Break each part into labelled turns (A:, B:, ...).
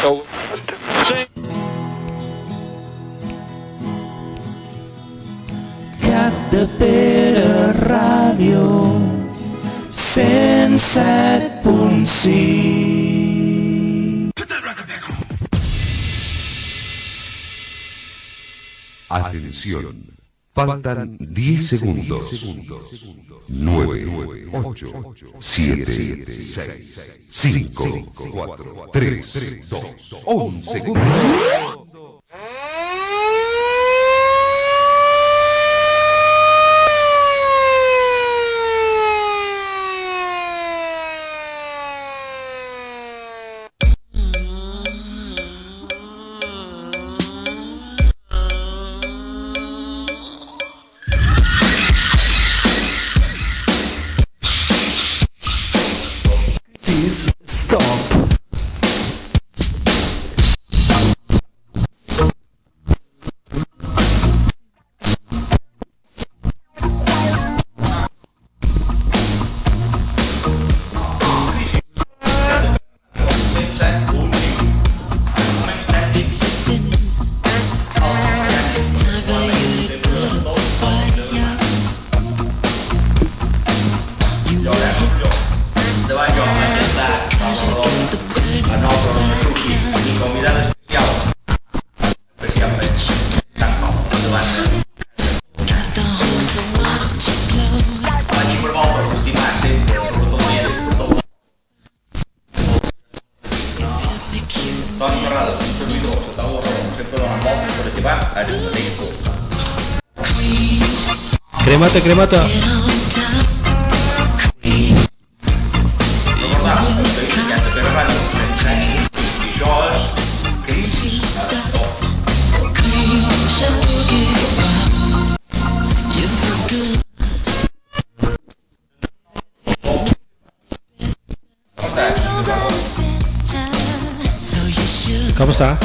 A: So,
B: Capdepera Ràdio 107.6
C: Atención. Faltan 10 segundos. 9, 8, 7, 6, 5, 4, 3, 2, 1 segundo.
B: Please stop
D: Cremata, cremata. ¿Cómo está?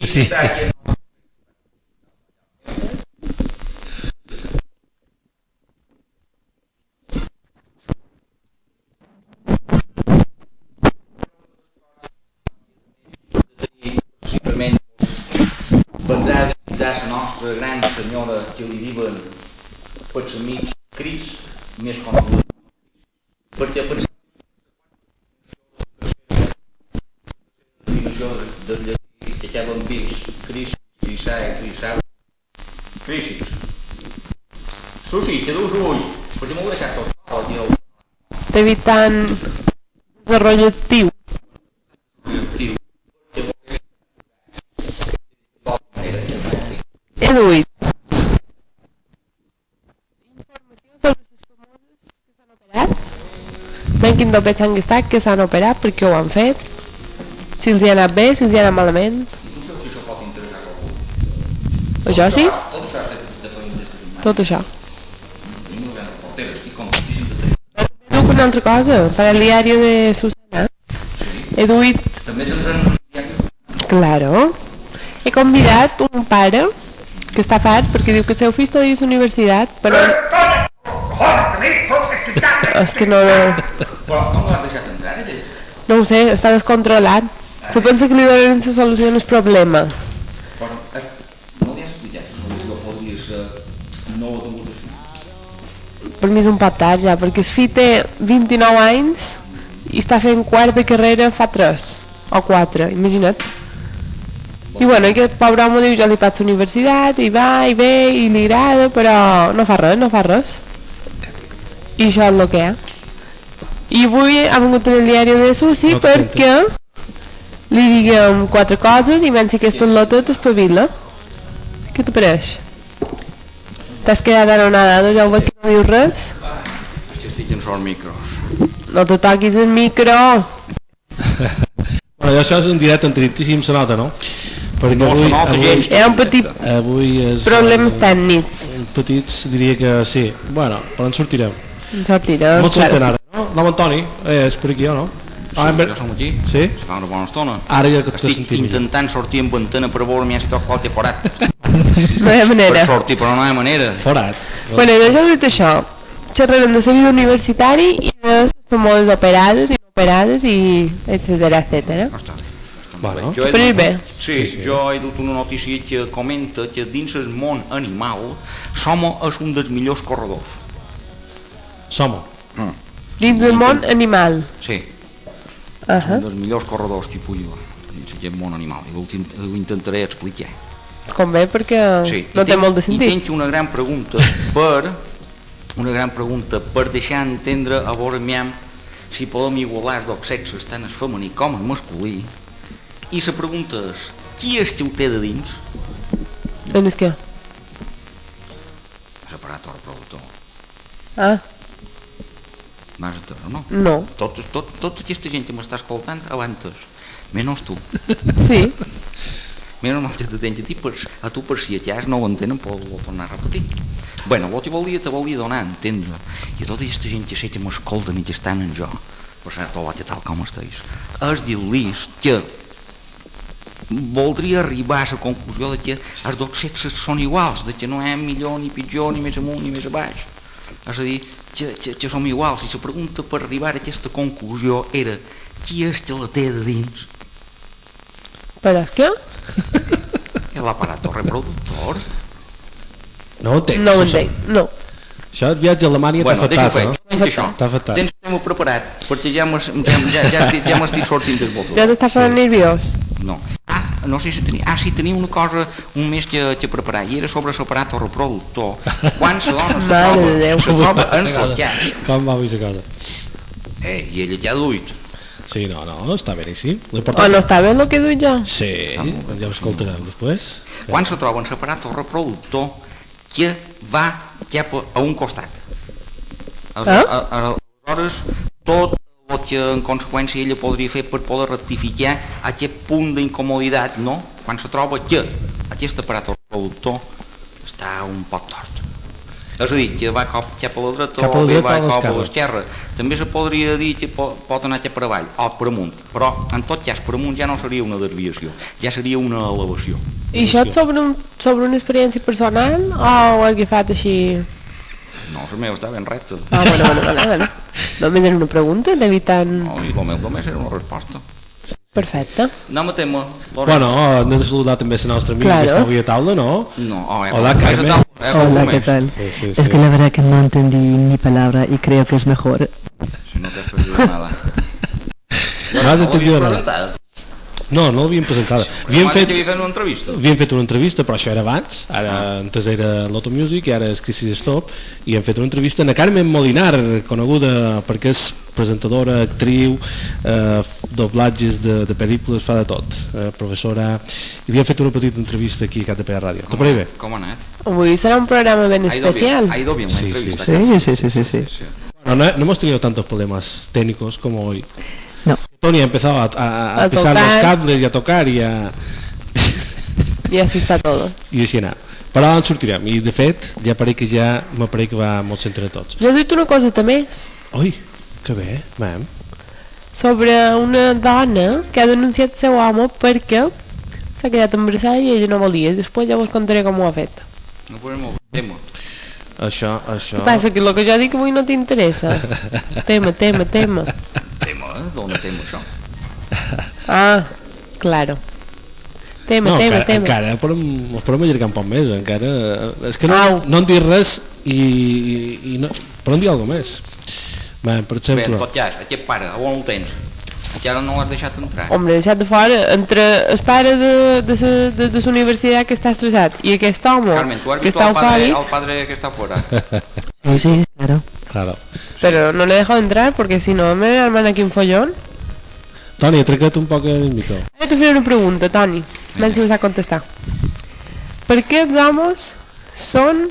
D: Sí.
E: simplesmente verdade das nossa grande senhora que lhe viva para amigos queridos, meus contribuidores, para te apresentar que acabam de Cristo, Crisaia, Crisaia, Cristo. Sushi, te dou os olhos, porque me vou deixar tocar, Deus.
F: te evitan desarrollo activo. Eduit. Información sobre els espumosos que s'han operat. Ben quin doble sang que està, que s'han operat, per què ho han fet, si els hi ha anat bé, si els hi ha anat malament. Això sí? Tot això. Duc una altra cosa, per al diari de Susana. He duit... Claro. He convidat un pare que està fart perquè diu que el seu fill estudia a la universitat, però... És que no...
E: Però com l'has deixat entrar, ell?
F: No ho sé, està descontrolat. Se pensa que li donen la solució al problema.
E: Però eh, no li has explicat que la solució podria ser no ho degut així.
F: Per mi és un pap tard ja, perquè el fill té 29 anys i està fent quart de carrera fa 3 o 4, imagina't. I bueno, aquest pobre home diu, jo li passo a la universitat, i va, i ve, i li agrada, però no fa res, no fa res. I això és el que hi ha. I avui ha vingut en el diari de Susi
D: No
F: perquè li diguem quatre coses i menys si aquesta és la tot, espavila. Què t'ho pareix? T'has quedat anonadado, ja ho veig que no dius res?
E: Jo estic en sort micros.
F: No te toquis el micro.
D: Bueno, això és un directe en trintíssim, se nota, no? Perquè
E: No
D: avui,
E: són altres
D: avui,
E: gens.
F: Hi ha un petit
D: avui és...
F: problemes tècnics.
D: Petits diria que sí. Bueno, però en sortirem.
F: En sortirem,
D: No et
F: clar.
D: surten ara, no? Nom Antoni, eh, és per aquí o no? Ah, en
E: Sí,
D: ver...
E: ja som aquí.
D: Sí?
E: Fa una bona estona.
D: Ara ja que te
E: Estic
D: sentim millor.
E: intentant sortir amb antena per veure mi si toca qualque forat.
F: No hi ha
E: Per
F: tota manera.
E: sortir, però no hi ha manera.
D: Forat.
F: Bueno, i això dit això, xerrarem de la vida universitari i de les famoses operades i no operades i etcètera, etcètera.
E: No està bé.
D: Bueno,
E: Jo he
F: Però
E: dut-
F: bé.
E: Sí, jo he dut una notícia que comenta que dins el món animal Somo és un dels millors corredors.
D: som-ho.
F: Dins del món animal.
E: Sí,
F: Uh
E: és un
F: -huh.
E: dels millors corredors que hi pugui haver dins aquest món animal. I ho, tin- ho intentaré explicar.
F: Convé perquè
E: Sí.
F: no
E: i
F: té
E: tinc-
F: molt de
E: I
F: sentit.
E: tinc una gran pregunta per una gran pregunta per deixar entendre a vora miam si podem igualar els dos sexes tant el femení com el masculí i la pregunta és qui es teu té de dins?
F: En Doncs és que...
E: Has parat el productor.
F: Ah,
E: M'has entès o no?
F: no.
E: Tot, tot, tota aquesta gent que m'està escoltant abans, menys tu.
F: Sí,
E: Menys mal que te tens a ti, per, a tu per si allà no ho entenen, però ho tornar a repetir. Bueno, el que volia, te volia donar a entendre. I a tota aquesta gent que sé que m'escolta mitjançant en jo, per cert, hola, que tal com estàs, és dir-los que voldria arribar a la conclusió de que els dos sexes són iguals, de que no hi ha millor ni pitjor, ni més amunt ni més a baix. És a dir, que, que, que som iguals. I la pregunta per arribar a aquesta conclusió era qui és que la té de dins?
F: però és que...
E: L'aparato reproductor.
D: No ho entenc.
F: No ho
D: això.
F: entenc, no.
D: Això el viatge a Alemanya
E: Bueno,
D: t'ha
E: deixa-ho fer.
D: afectat, no?
E: Tinc això.
D: T'ha afectat.
E: Tens el tema preparat, perquè ja m'has- ja, ja, ja, estic, ja m'estic sortint del botó.
F: Ja t'està fent nerviós.
E: No. Ah, no sé si tenia... Ah, sí, tenia una cosa, un més que, que preparar, i era sobre l'aparat o reproductor. Quan la dona se
F: Mare de
E: troba,
F: Déu.
E: se troba en la casa.
D: Com va avui la cosa?
E: Eh, i ella ja duit.
D: Sí, no, no, està beníssim.
F: O
D: L'important...
F: no està bé el que duc jo?
D: Sí, ja ho escoltarem després.
E: Quan se troba en l'aparat o reproductor, que va cap a un costat. Aleshores,
D: Ah?
F: Eh?
E: a- a- Aleshores, tot el que en conseqüència ella podria fer per poder rectificar aquest punt d'incomoditat, no? Quan se troba que aquest aparat reproductor està un poc tort. És a dir, que va cap, cap a la dreta
D: Cap a la
E: o bé
D: dreta
E: va
D: o a
E: cap a
D: l'esquerra.
E: l'esquerra. També se podria dir que po- pot anar cap per avall o per amunt, però en tot cas per amunt ja no seria una desviació, ja seria una elevació.
F: I això és sobre, un, sobre una experiència personal o ho has agafat així...
E: No, el meu està ben recte.
F: Ah, bueno, bueno, bueno, bueno. Només era una pregunta, l'evitant...
E: No, i el meu només era una resposta.
F: Perfecte.
E: Anem a tema. Lorenzo.
D: Bueno, hem de saludar també la nostra amiga
F: Claro.
D: que està avui a taula, no?
E: No, oh, eh,
D: Hola,
E: com que és
D: Carmen.
E: a taula, eh, com
A: Hola,
E: que
A: ¿qué
E: és.
A: tal?
D: Sí, sí,
A: Es
D: sí.
A: que la verdad que no entendí ni palabra y creo que es mejor.
E: Si no t'has perdut nada.
D: No has entendido nada.
E: Presentada.
D: No, no l'havíem presentada. Havíem
E: Demà
D: fet,
E: t'havia fet una entrevista.
D: havíem fet una entrevista, però això era abans, ara antes era Lotto Music i ara és Crisis Stop, i hem fet una entrevista a Carmen Molinar, coneguda perquè és presentadora, actriu, eh, doblatges de, de pel·lícules, fa de tot, eh, professora... I li hem fet una petita entrevista aquí a CatDP Ràdio. T'ho pareix bé?
E: Com ha anat?
F: Avui serà un programa ben
E: Ha ido bien,
F: especial.
E: ha ido bien la
D: Sí, sí,
E: entrevista.
A: sí,
E: Carmen.
A: sí, sí, sí, sí.
D: No, no, no hemos tenido tantos problemas técnicos como hoy.
A: No.
D: Tony ha empezado a, a- a
F: A
D: pisar los
F: tocar.
D: cables y a tocar y a...
F: Y así está todo.
D: i així anar. Però en sortirem, i de fet, ja pareix que ja m'apareix que va molt centre de tots.
F: Jo he dit una coseta més
D: Ui, que bé, ma'am.
F: sobre una dona que ha denunciat el seu home perquè s'ha quedat embarassada i ella no volia. Després ja vos contaré com ho ha fet.
E: No podem molt tema.
D: Això, això...
F: Què passa? Que el que jo dic avui no t'interessa. tema, tema, tema.
E: Tema, eh? D'on tema, això?
F: Ah, claro. Tema,
D: No,
F: tema,
D: encara,
F: tema.
D: encara podem, els podem allargar un poc més, encara... És que no,
F: Au.
D: no en dir res i, i, i no... Podem dir alguna més. Ma'am, per
E: Bé, en
D: exemple...
E: tot cas, aquest pare, a on el tens? Encara no l'has deixat entrar.
F: Hombre, deixat de fora, entre el pare de, de, sa, de, de sa universitat que està estressat i aquest home
E: Carmen, tu has
F: que
E: vist
F: està
E: el padre,
F: eufòric,
E: el padre que està fora.
A: Sí, sí, claro.
D: Claro.
F: però no l'he dejo entrar perquè si no me arman aquí un follón.
D: Toni, atraca't un poc el micro.
F: Ara te faré una pregunta, Toni. A veure si vas a contestar. Per què els homes són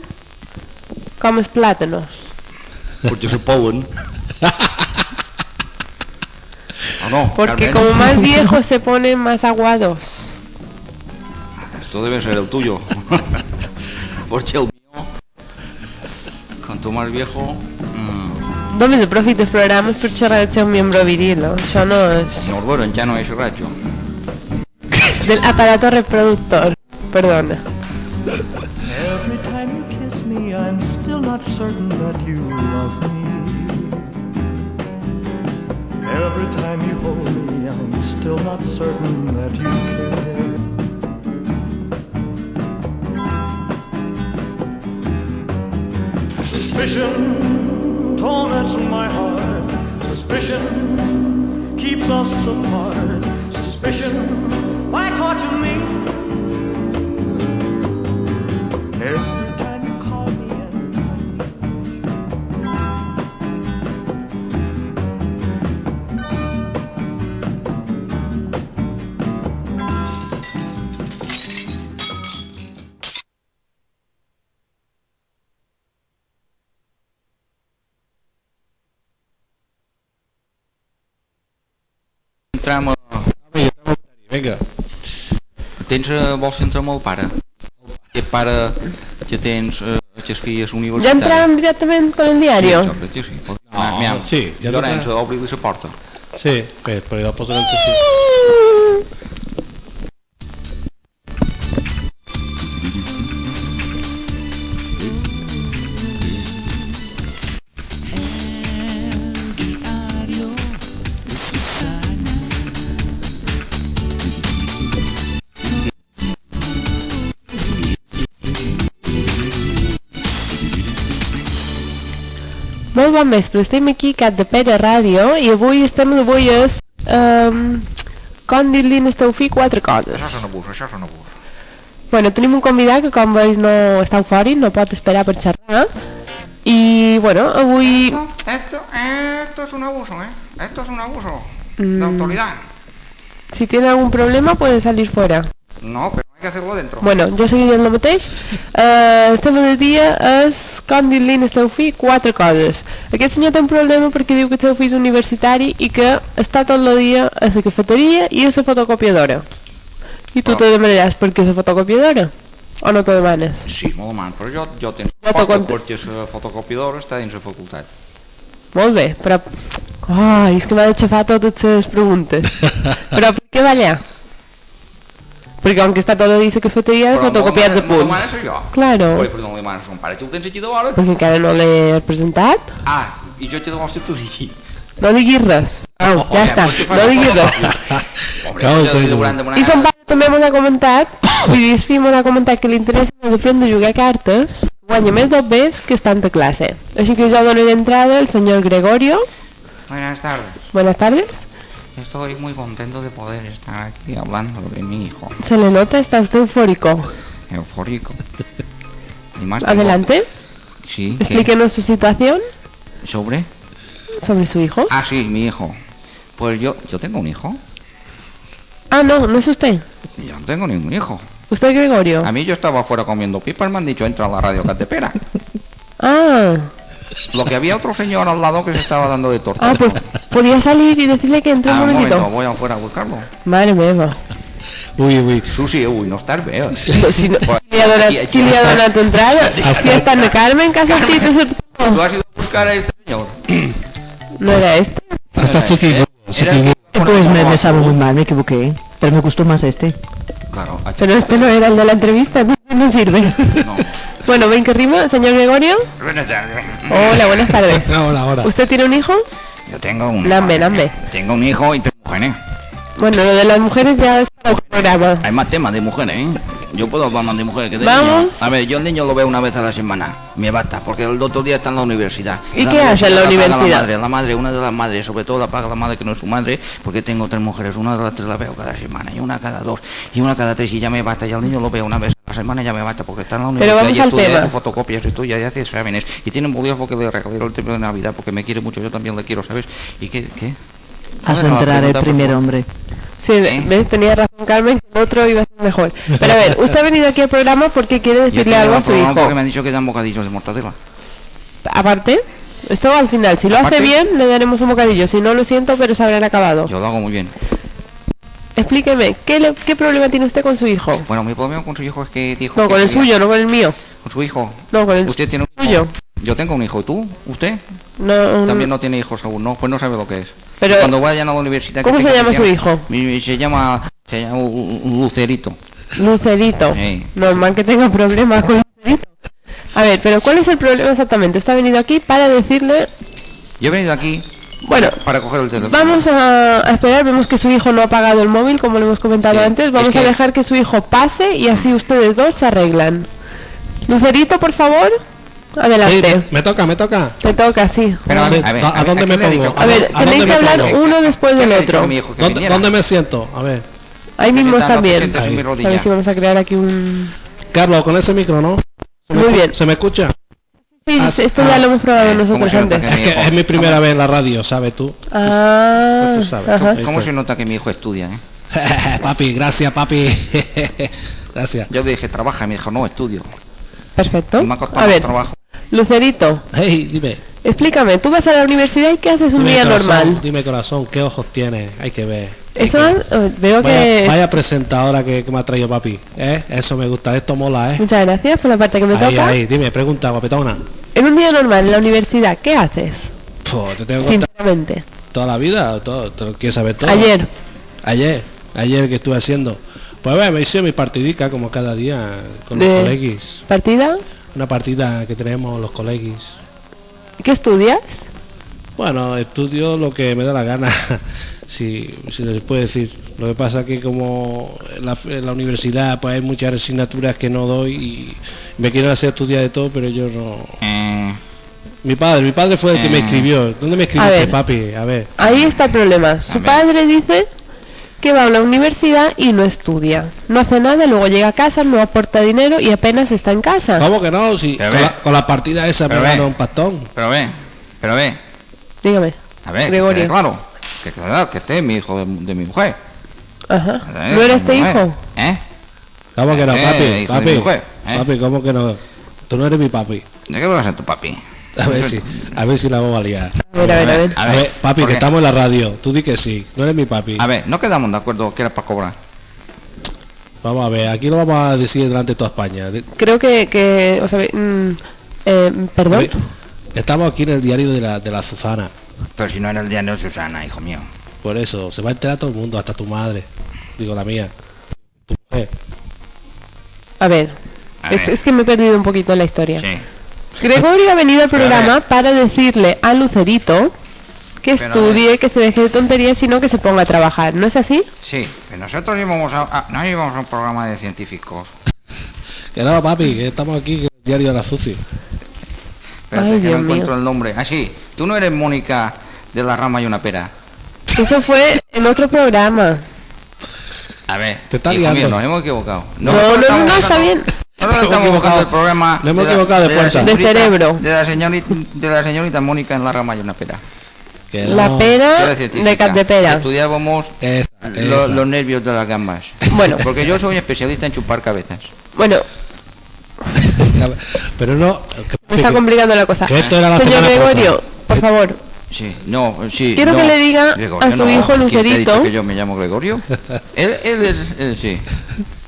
F: com els plàtanos?
E: Potser se polen. O no,
F: Porque
E: Carmen?
F: como más viejos se ponen más aguados.
E: Esto debe ser el tuyo. Porque el mío, cuanto más viejo, mm,
F: Només aprofito els programes per xerrar del seu membre viril, no? Això no és...
E: Norbero ya no es racho.
F: Del aparato reproductor, perdona.
B: Every time you kiss me, I'm still not certain that you love me. Every time you hold me, I'm still not certain that you care. Suspicion torments my heart. Suspicion keeps us apart. Suspicion, why torture me? Every time you call me and tell me
E: Entramos.
D: Vinga.
E: Tens, eh, vols entrar amb el pare? Que pare que tens eh, aquestes filles
F: Ja
E: universitàries.
F: entràvem directament con el diari.
E: Sí, jo crec que sí. Pues, Pots anar,
D: No,
E: Miam.
D: Ah, sí, ja
E: Llorenç, obri-li la porta.
D: Sí, bé, però ja el posarem així.
F: Molt bon vespre, estem aquí a Cat de Pere Ràdio i avui el tema d'avui és... Um, com dir-li al teu fill quatre
E: Això
F: coses.
E: és un abús, això és un abús.
F: Bueno, tenim un convidat que com veus no està eufòric, no pot esperar per xerrar. I, bueno, avui...
E: Esto, esto es un abuso, ¿eh? Esto es un abuso de autoridad.
F: Si tiene algún problema puede salir fuera.
E: No, pero hay que hacerlo dentro.
F: Bueno, jo seguiré en el mateix. Uh, el tema del dia és com dir-li al seu fill quatre coses. Aquest senyor té un problema perquè diu que el seu fill és universitari i que està tot el dia a la cafeteria i a la fotocopiadora. I tu
E: Però-
F: te demanaràs per què la fotocopiadora? O no te demanes?
E: Sí, molt mal, però jo, jo tens
F: Ja t'ho
E: posta
F: conto.
E: perquè la fotocopiadora eh, està dins la facultat.
F: Molt bé, però... Ai, és que m'ha de xafar totes les preguntes. però per què va allà? Perquè com que està tot el dia a la cafeteria,
E: Però
F: fotocopiats
E: no,
F: de
E: no, no
F: punts.
E: demanes això.
F: Claro. Pues-
E: Oi, però no li demanes a un pare, tu ho tens aquí d'hora.
F: Perquè encara no l'he presentat.
E: Ah, i jo t'he de mostrar tu digui.
F: No diguis res.
E: Ah,
F: Au, ja està.
E: pues
F: No diguis res.
E: Pobre,
D: Cal,
E: ja li
D: tens-
E: hauran demanat.
F: I son pare també m'ho ha comentat, vull dir, el fill m'ho ha comentat que li interessa de front de jugar a cartes, guanya més dos bes que estant a classe. Així que jo donaré entrada al senyor Gregorio.
E: Buenas tardes.
F: Buenas tardes.
E: Estoy muy contento de poder estar aquí hablando de mi hijo
F: Se le nota, está usted eufórico.
E: eufórico. Y más tengo-
F: Adelante,
E: Sí, ¿qué?
F: explíquenos su situación
E: ¿Sobre?
F: sobre su hijo.
E: Ah, sí, mi hijo. Pues yo, yo tengo un hijo.
F: Ah, no, no es usted.
E: Yo no tengo ningún hijo.
F: Usted es Gregorio.
E: A mí yo estaba afuera comiendo pipas, me han dicho entra a la radio Catepera.
F: Ah,
E: Lo que había otro señor al lado que se estaba dando de torta.
F: ah, pues podía salir y decirle que entre
E: Ah,
F: un
E: un momento,
F: momentito.
E: voy afuera a buscarlo.
F: Madre mía.
D: Ui, ui.
E: Susi, uy, no estás bien.
F: No, Pues si no,
E: Bueno,
F: qui li ha donat,
E: Pues, aquí- aquí
F: qui li ha
E: està.
F: donat entrada?
D: Hasta-
F: Si està en Carmen, que ha sortit a
E: Tú
F: sortir.
E: has ido a buscar a este señor.
F: No era este.
D: Hasta
E: eh, Era este.
D: chiquillo,
E: Era
D: chiquillo.
E: el que-
A: Pues me,
E: Bueno,
A: me sabe muy mal, me equivoqué. Pero me gustó más este.
E: Claro, a-
F: Pero este no era el de la entrevista, no, no sirve.
E: no.
F: Bueno, ven que rima, señor Gregorio.
E: Buenas tardes.
F: Hola, buenas tardes.
D: Ahora, ahora.
F: ¿Usted tiene un hijo?
E: Yo tengo un
F: Lambe, lambe.
E: Tengo un hijo y tres mujeres.
F: Bueno, lo de las mujeres ya es para otro programa.
E: Hay más temas de mujeres, ¿eh? Yo puedo hablar más de mujeres que de
F: Vamos.
E: niños. A ver, yo el niño lo veo una vez a la semana. Me basta, porque el otro día está en la universidad.
F: ¿Y qué hace en la
E: paga
F: universidad?
E: La madre, la madre, una de las madres, sobre todo la paga la madre que no es su madre, porque tengo tres mujeres. Una de las tres la veo cada semana, y una cada dos, y una cada tres, y ya me basta. Y al niño lo veo una vez a la semana, ya me basta, porque está en la universidad
F: vamos
E: y
F: al
E: estudia, y
F: tema.
E: hace fotocopias, y estudia, y hace exámenes. Y tiene un bolígrafo que le regalé el tiempo de Navidad, porque me quiere mucho, yo también le quiero, ¿sabes? ¿Y qué? qué? Ah,
A: Haz
E: Ahora la
A: entrar el
E: pregunta, por
A: primer
E: favor.
A: hombre.
F: Sí,
E: ¿Eh?
F: ves, tenía razón Carmen, que el otro iba a ser mejor. Pero a ver, usted ha venido aquí al programa porque quiere
E: Yo
F: decirle
E: tengo
F: algo
E: un
F: a su
E: programa
F: hijo.
E: Porque me han dicho que dan bocadillos de mortadela.
F: Aparte, esto al final, si lo hace
E: Aparte-
F: Oh. bien, le daremos un bocadillo. Si no, lo siento, pero se habrán acabado.
E: Yo lo hago muy bien.
F: Explíqueme, ¿qué, le- ¿qué problema tiene usted con su hijo?
E: Bueno, mi problema con su hijo es que dijo...
F: No,
E: que
F: con el
E: quería-
F: suyo, no con el mío.
E: Con su hijo.
F: No, con el
E: Usted tiene un hijo.
F: suyo.
E: Yo tengo un hijo. ¿Tú? ¿Usted?
F: No, no.
E: También no tiene hijos aún, ¿no? Pues no sabe lo que es.
F: Pero-
E: Cuando vayan a la universidad... que
F: ¿Cómo se
E: tenga
F: llama su hijo?
E: Mi- Se llama... Se llama U- U- Lucerito.
F: Lucerito.
E: Sí.
F: Normal que tenga problemas con Lucerito. A ver, pero ¿cuál es el problema exactamente? Usted ha venido aquí para decirle...
E: Yo he venido aquí
F: Bueno,
E: para coger el teléfono.
F: vamos a, a esperar. Vemos que su hijo no ha pagado el móvil, como lo hemos comentado
E: Sí,
F: antes.
E: es
F: Vamos a
E: que-
F: dejar que su hijo pase y así ustedes dos se arreglan. Lucerito, por favor,
D: Sí,
F: adelante.
D: me toca, me toca.
F: Te toca, sí.
E: Pero,
D: Sí,
E: a ver,
D: ¿a dónde
E: qué
D: me
E: le he
D: pongo?
E: dicho?
D: A
F: A ver,
D: ver, ¿a
F: tenéis
D: dónde
F: que
D: me
F: hablar
D: pongo?
F: uno después
E: ¿Qué
F: del
E: le he dicho
F: otro.
E: a mi hijo que
D: ¿Dónde,
E: viniera?
D: dónde me siento? A ver.
F: Ahí
E: Que
F: mismo
E: está dando
F: también.
E: chetes en mi
F: A ver
E: rodilla.
F: si vamos a crear aquí un...
D: Carlos, con ese micro, ¿no? ¿Se me
F: Muy
D: escu-
F: bien.
D: ¿Se me escucha?
F: Sí,
D: Ah,
F: esto
D: ah,
F: ya lo hemos probado
E: ¿cómo
F: nosotros
E: se nota
F: antes.
E: Sí,
D: Es que
E: hijo.
D: es mi primera vez en la radio, ¿sabes tú?
F: Ah,
D: Pues tú sabes.
F: ajá.
D: Ahí
E: ¿Cómo
D: está.
E: se nota que mi hijo estudia, eh?
D: papi, gracias, papi. gracias.
E: Yo le dije, trabaja, y me dijo, no, estudio.
F: perfecto.
E: Y me ha costado
F: A
E: más
F: ver,
E: trabajo.
F: Lucerito,
D: Hey, dime.
F: explícame, tú vas a la universidad y ¿qué haces un
D: dime
F: día
D: corazón,
F: normal?
D: Dime corazón, ¿qué ojos tiene? Hay que ver. hay
F: Eso
D: que ver.
F: eh, veo que...
D: Vaya, vaya presentadora que, que me ha traído papi. ¿eh? Eso me gusta, esto mola, ¿eh?
F: Muchas gracias por la parte que me
D: Ahí,
F: toca.
D: ahí, dime, pregunta, guapetona.
F: En un día normal en la universidad, ¿qué haces?
D: Puh, te tengo que contar
F: Sinceramente.
D: toda la vida, todo, te lo quieres saber todo.
F: Ayer.
D: Ayer, ayer que estuve haciendo. Pues bueno, me hice mi partidica como cada día con los
F: de
D: colegis.
F: ¿Partida?
D: Una partida que tenemos los colegis.
F: ¿Qué estudias?
D: Bueno, estudio lo que me da la gana, si, si les puedo decir. Lo que pasa que como en la, en la universidad pues hay muchas asignaturas que no doy y me quiero hacer estudiar de todo, pero yo no...
E: Eh,
D: Mi padre, mi padre fue el que me escribió. ¿Dónde me escribiste,
F: ver.
D: papi? A ver.
F: Ahí está el problema. Su
E: Amén.
F: padre dice que va a la universidad y no estudia. No hace nada, luego llega a casa, no aporta dinero y apenas está en casa.
D: ¿Cómo que no? Si
E: Pero
D: con,
E: ve.
D: la, con la partida esa me
E: Pero ve.
D: ganó un pastón.
E: pero ve, pero ve,
F: Dígame.
E: a ver, que
F: Gregorio.
E: quede claro, que claro, que este es mi hijo de, de mi mujer.
F: Ajá.
E: ¿eh?
F: ¿No era
E: Mi
F: este
E: mujer,
F: hijo?
E: ¿Eh?
D: ¿Cómo que no,
E: Eh,
D: papi?
E: hijo de mi
D: Papi,
E: mujer, eh.
D: papi, ¿cómo que no? Tú no eres mi papi.
E: ¿De qué vas a ser tu papi?
D: A ver si, a ver si la vamos a liar.
F: A ver, a ver, a ver.
E: A
D: A
E: ver,
D: ver, papi,
E: porque-
D: que estamos en la radio. Tú di que sí. No eres mi papi.
E: A ver, no quedamos de acuerdo que era para cobrar.
D: Vamos a ver, aquí lo vamos a decir delante de toda España. De-
F: Creo que... que o sea, mm, eh, perdón.
D: Estamos aquí en el diario de la, de la Susana.
E: Pero si no era el día de Susana, hijo mío.
D: Por eso, se va a enterar todo el mundo, hasta tu madre. Digo, la mía. Tu mujer.
F: A ver.
E: A
F: Es,
E: ver.
F: es que me he perdido un poquito en la historia.
E: Sí.
F: Gregorio ha venido al
E: Pero a
F: programa
E: ver.
F: para decirle a Lucerito que
E: Pero a
F: estudie, que se deje de tonterías, sino que se ponga a trabajar. ¿No es así?
E: Sí, pero nosotros íbamos a, a- no íbamos a un programa de científicos.
D: Que no, papi, que estamos aquí en el diario de la Susi.
E: Espérate,
F: Ay,
E: que no
F: Dios mío.
E: encuentro el nombre. Ah, sí, tú no eres Mónica de la rama y una pera.
F: Eso fue en otro programa.
E: A ver,
D: Te está
E: hijo
D: liando.
E: mío, nos hemos equivocado.
F: No, no,
E: estamos
F: no, no,
E: buscando-
F: está bien.
E: No nos
D: Nos
E: estamos
D: hemos
E: buscando
D: equivocado.
E: el programa.
D: Nos hemos
E: la-
D: equivocado de
E: la
D: puerta. De
E: señorita-
F: cerebro.
E: De la señorita, de la señorita Mónica en la rama y una pera.
D: Que
F: La
D: no.
E: Yo
F: pera
E: era científica.
F: Ah, de Catepera.
E: Estudiábamos
D: Esa,
E: lo-
D: esa.
E: los nervios de las gambas.
F: Bueno.
E: Porque yo soy especialista en chupar cabezas.
F: Bueno,
D: Pero no.
F: me está
D: que-
F: complicando la cosa.
D: que esto era la
F: Señor
D: semana
F: Gregorio,
D: pasada.
F: por favor,
E: Sí, no, sí.
F: Quiero
E: no.
F: que le diga a su
E: ¿Quién
F: hijo
E: te ha
F: Lucerito?
E: dicho que yo me llamo Gregorio? él, él es, él sí.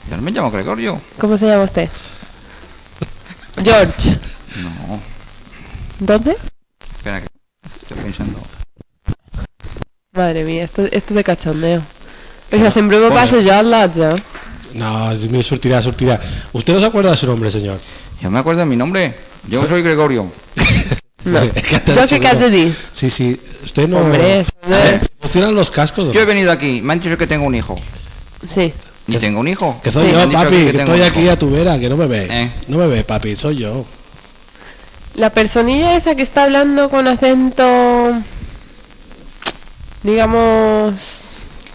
E: Yo no me llamo Gregorio.
F: ¿cómo se llama usted? George.
E: No,
F: ¿Dónde?
E: espera que estoy pensando.
F: Madre mía, esto, esto es de cachondeo. O sea, siempre me paso yo al lado ya.
D: No, si me surtirá, surtirá. ¿Usted no se acuerda de su nombre, señor?
E: Yo me acuerdo de mi nombre. Yo
D: Pues
E: soy Gregorio.
F: No.
D: Es que te he
F: Yo
D: dicho
F: que
D: que no.
F: te di.
D: Sí, sí. Usted no.
F: Hombre, joder.
D: Funcionan los cascos. ¿no?
E: Yo he venido aquí. Me han dicho que tengo un hijo.
F: Sí.
E: Y tengo un hijo.
D: Que soy
E: Me han
D: yo,
E: dicho
D: papi, que,
E: tengo
D: estoy
E: un
D: aquí
E: hijo.
D: a tu vera, que no me ve.
E: Eh.
D: No me ve, papi, soy yo.
F: La personilla esa que está hablando con acento, digamos,
E: Bueno,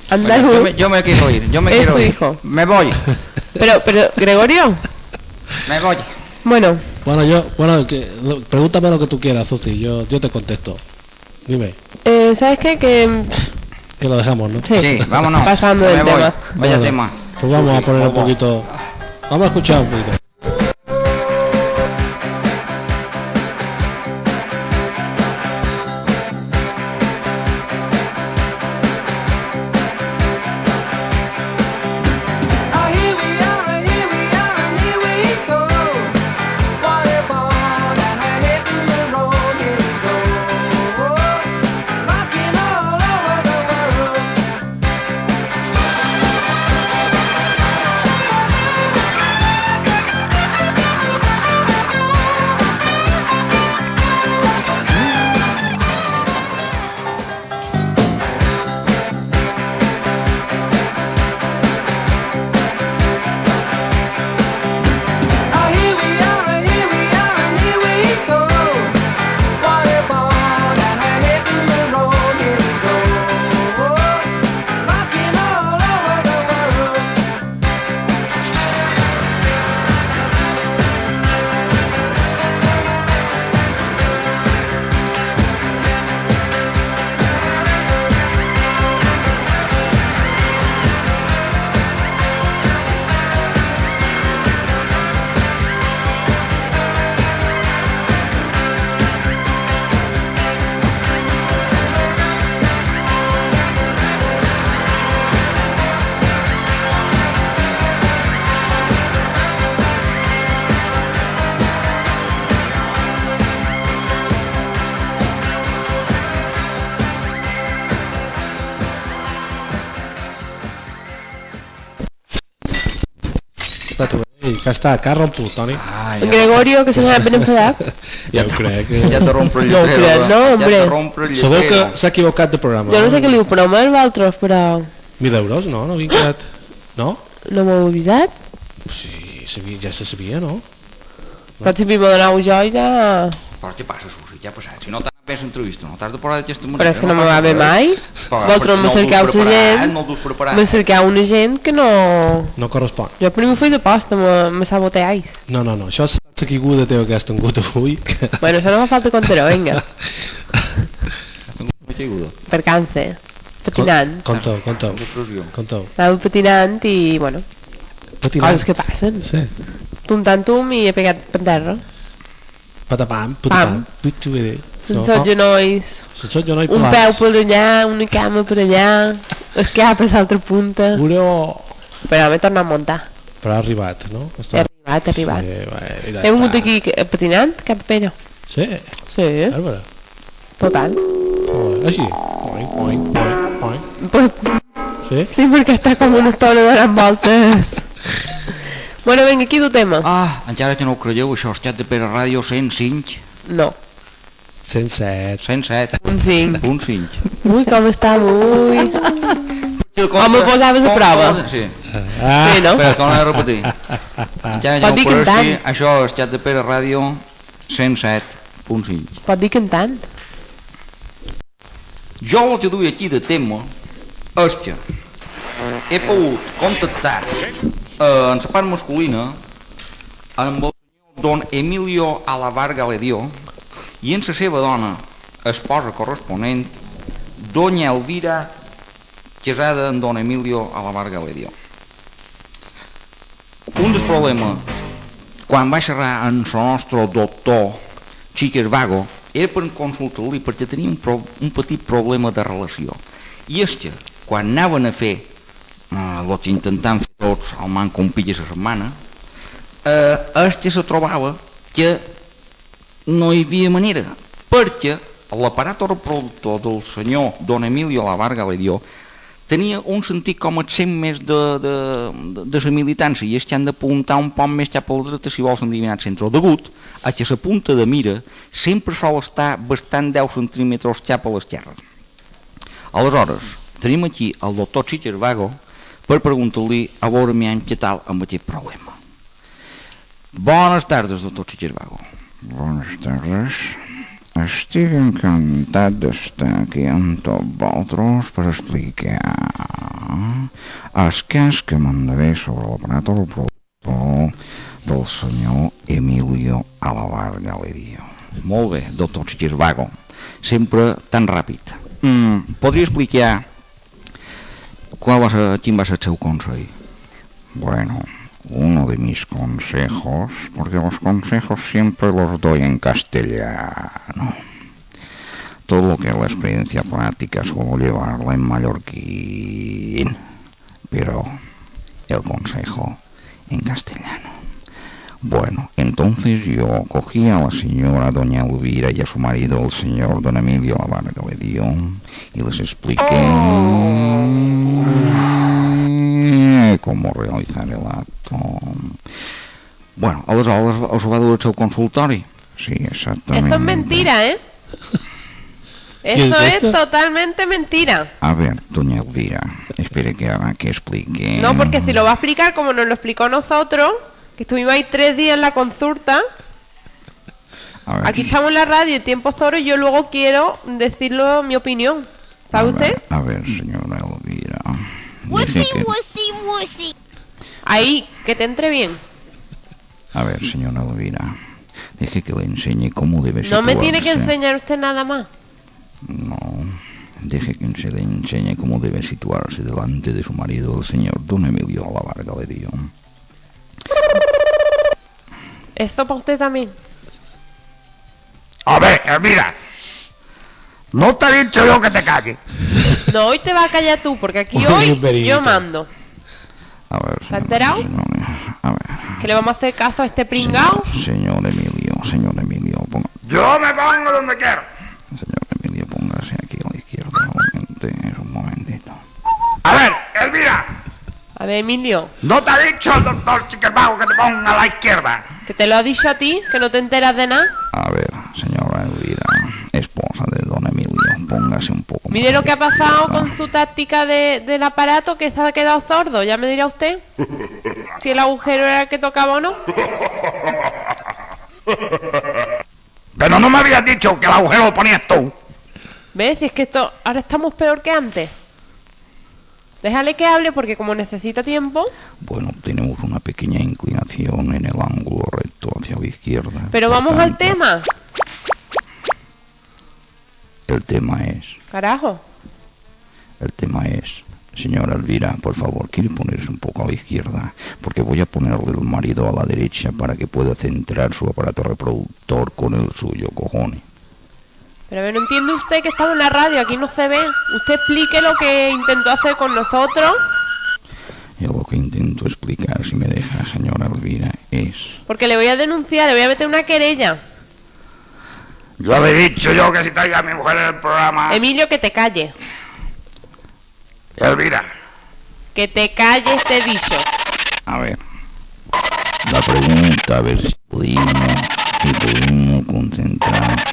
E: yo,
F: andaluz.
E: me, yo me quiero ir. Yo me
F: Es
E: quiero
F: tu
E: ir.
F: hijo.
E: Me voy.
F: Pero, pero, Gregorio,
E: Me voy.
F: bueno,
D: Bueno, yo, bueno, que, lo- pregúntame lo que tú quieras, Susi, yo, yo te contesto. Dime,
F: eh, ¿sabes qué? Que mm,
D: que lo dejamos, ¿no?
F: sí.
E: Sí, vámonos.
F: Pasando
E: me
F: del
E: voy.
F: tema.
E: Vaya
D: Bueno,
E: tema.
D: Pues vamos a
E: Sí,
D: poner un
E: vamos.
D: poquito. Vamos a escuchar un poquito. Ei, que està, que ha romput, Toni.
E: Ah,
F: En Gregorio, que se n'ha ben enfadat.
D: Ja ho crec.
E: ja te rompo el
F: No ho
E: lletrero.
F: crec,
E: va.
F: no,
E: Ja
F: hombre.
E: te rompo el lletrero.
D: Sabeu que s'ha equivocat de este programa.
F: Jo no sé què li ho promet, Valtros, però
D: 1.000 euros? No, no havia quedat... No?
F: no m'ho he oblidat.
D: Pues Sí, sabia, ja se sabia, no?
F: Potser m'hi donau jo i ja...
E: Però què passa, Susi? Ja ha passat. Si no t'ha fet entrevista, no t'has de parar d'aquesta manera.
F: Però és que no me
E: passa
F: va bé
E: res.
F: mai.
E: Però
F: Vosaltres
E: perquè
F: me
E: pues, no el
F: cerqueu
E: dus
F: la
E: preparat,
F: gent,
E: No el dus preparat.
F: me cerqueu una gent que no...
D: No correspon.
F: Jo primer faig d'aposta, me, me saboteais.
D: No, no, no, això és la caiguda teva que has tingut avui. Que...
F: Bueno, això no me falta contar-ho, vinga.
E: M'he caigut.
F: Per càncer. Patinant.
D: Conta-ho, conta-ho,
E: Depressió.
D: conta-ho.
F: Anava patinant i, bueno,
D: Patinant.
F: coses Ah, que passen.
D: Sí.
F: Tum tant tum i he pegat per terra.
D: Patapam, patapam. Pituere.
F: Sense no, genolls.
D: Sense jo no hi
F: Un peu pues- per allà, una cama per allà, es cap a l'altra punta.
D: Però...
F: Però m'he tornat a muntar.
D: Però ha arribat, no?
F: He arribat, he arribat.
D: Ah. Sí, va, i ja
F: He vingut
D: està.
F: aquí eh, patinant cap a Pere.
D: Sí,
F: Sí,
D: bàrbara.
F: total.
D: Molt bé. Així. Oink, oink, oink, oink.
F: Pot-
D: Sí?
F: Sí, perquè està com una estona donant voltes. bueno, vinga, aquí du tema.
E: Ah, encara que no ho creieu, això és xat de Pere Ràdio 105,
F: No,
D: 107.
E: 107,
F: un 5.
E: punt 5.
F: Ui, com està avui. Home, Ah, posaves a prova.
E: Sí,
D: Ah,
F: Sí, no?
E: espera, torna a repetir. Encara que
F: Pot
E: no
F: dir
E: ho creieu,
F: cantant.
E: sí, això és xat de Pere Ràdio 107.5.
F: Pot dir cantant?
E: Jo el que duia aquí de tema és que he pogut contactar eh, en la part masculina amb el senyor don Emilio Alavar Galedió i en la seva dona, esposa corresponent, doña Elvira, casada amb don Emilio Alavar Galedió. Un dels problemes, quan va xerrar amb el nostre doctor Chiques Vago, era per consultar-li perquè tenia un, pro un petit problema de relació. I és que, quan anaven a fer, eh, el que intentaven fer tots al manco un pilla a la setmana, eh, este se trobava que no hi havia manera, perquè l'aparat reproductor del senyor Don Emilio Lavar Galerió tenia un sentit com accent més de, de, de, de la militància i és que han d'apuntar un poc més cap a la dreta si vols endevinar el centre. Degut a que la punta de mira sempre sol estar bastant 10 centímetres cap a l'esquerra. Aleshores, tenim aquí el doctor Chicher Vago per preguntar-li a veure mi què tal amb aquest problema. Bones tardes, doctor Chicher Vago.
G: Bones tardes. Estic encantat d'estar aquí amb tots vosaltres per explicar el cas que m'endevé sobre l'aparato del productor del senyor Emilio Alabar Galerio.
E: Molt bé, doctor Chichirvago. Sempre tan ràpid. Mm, podria explicar qual va ser, quin va ser el seu consell?
G: Bueno, uno de mis consejos, porque los consejos siempre los doy en castellano. Todo lo que es la experiencia práctica es como llevarla en mallorquín, pero el consejo en castellano. Bueno, entonces yo cogí a la señora doña Elvira y a su marido, el señor don Emilio Lavarga le dio, y les expliqué cómo realizar el acto.
E: Bueno, aleshores els va dur al seu consultori.
G: Sí, exactamente.
F: Esto es mentira, ¿eh?
D: es
F: Eso es
D: esto?
F: totalmente mentira.
G: A ver, doña Elvira, espere que haga que explique.
F: No, porque si lo va a explicar como nos lo explicó nosotros, que estuvimos ahí tres días en la consulta,
G: A ver,
F: aquí estamos en la radio, tiempo zoro, y yo luego quiero decirlo mi opinión.
G: a
E: Ah,
F: ¿Sabe usted?
G: ver, A ver, señora Elvira.
H: Wussy,
G: Dije que-
H: wussy, wussy.
F: Ahí, que te entre bien.
G: A ver, señora Elvira. Deje que le enseñe cómo debe
F: No me tiene que
G: situarse.
F: enseñar usted nada más.
G: No. Deje que se le enseñe cómo debe situarse delante de su marido, el señor Don Emilio Alavar Galerio.
F: Esto para usted también.
I: A ver, mira. No te he dicho yo que te calles.
F: No, hoy te va a callar tú, porque aquí
D: Uy,
F: hoy
D: Berito.
F: yo mando.
G: A ver,
F: ¿Se ha
G: señoras y
F: enterado?
G: señores, A ver.
F: ¿Que le vamos a hacer caso a este pringao?
G: Señor, señor Emilio, señor Emilio, ponga-
I: Yo me pongo donde quiero.
G: señor Emilio, póngase aquí a la izquierda. Un momente, un momentito.
I: A ver, Elvira.
F: A A ver, Emilio,
I: No te ha dicho el doctor Chiquerbao que te ponga a la izquierda.
F: que te lo ha dicho a ti, que no te enteras de nada.
E: A ver, señora Elvira, esposa de don Emilio, póngase un poco.
F: Mire
E: más
F: lo que ha
E: a la
F: pasado
E: izquierda.
F: con su táctica de- del aparato que se ha quedado sordo. Ya me dirá usted si el agujero era el que tocaba o no.
I: Pero no me habías dicho que el agujero lo ponías tú.
F: ¿Ves? Si es que esto ahora estamos peor que antes. Déjale que hable porque como necesita tiempo,
E: Bueno, tenemos una pequeña inclinación en el ángulo recto hacia la izquierda.
F: pero
E: por
F: vamos al
E: tanto,
F: tema.
E: El tema es,
F: Carajo.
E: el tema es, señora Elvira, por favor, quiere ponerse un poco a la izquierda, porque voy a ponerle el marido a la derecha para que pueda centrar su aparato reproductor con el suyo, cojones.
F: Pero a ver, no entiende usted que estamos en la radio, aquí no se ve. Usted explique lo que intentó hacer con nosotros,
E: Yo lo que intento explicar, si me deja, señora Elvira, es...
F: porque le voy a denunciar, le voy a meter una querella.
I: Yo le he dicho yo que si traiga a mi mujer en el programa.
F: Emilio, que te calles.
I: Elvira.
F: Que te calles, te he dicho.
E: A ver. La pregunta, a ver si pudimos, si pudimos concentrar.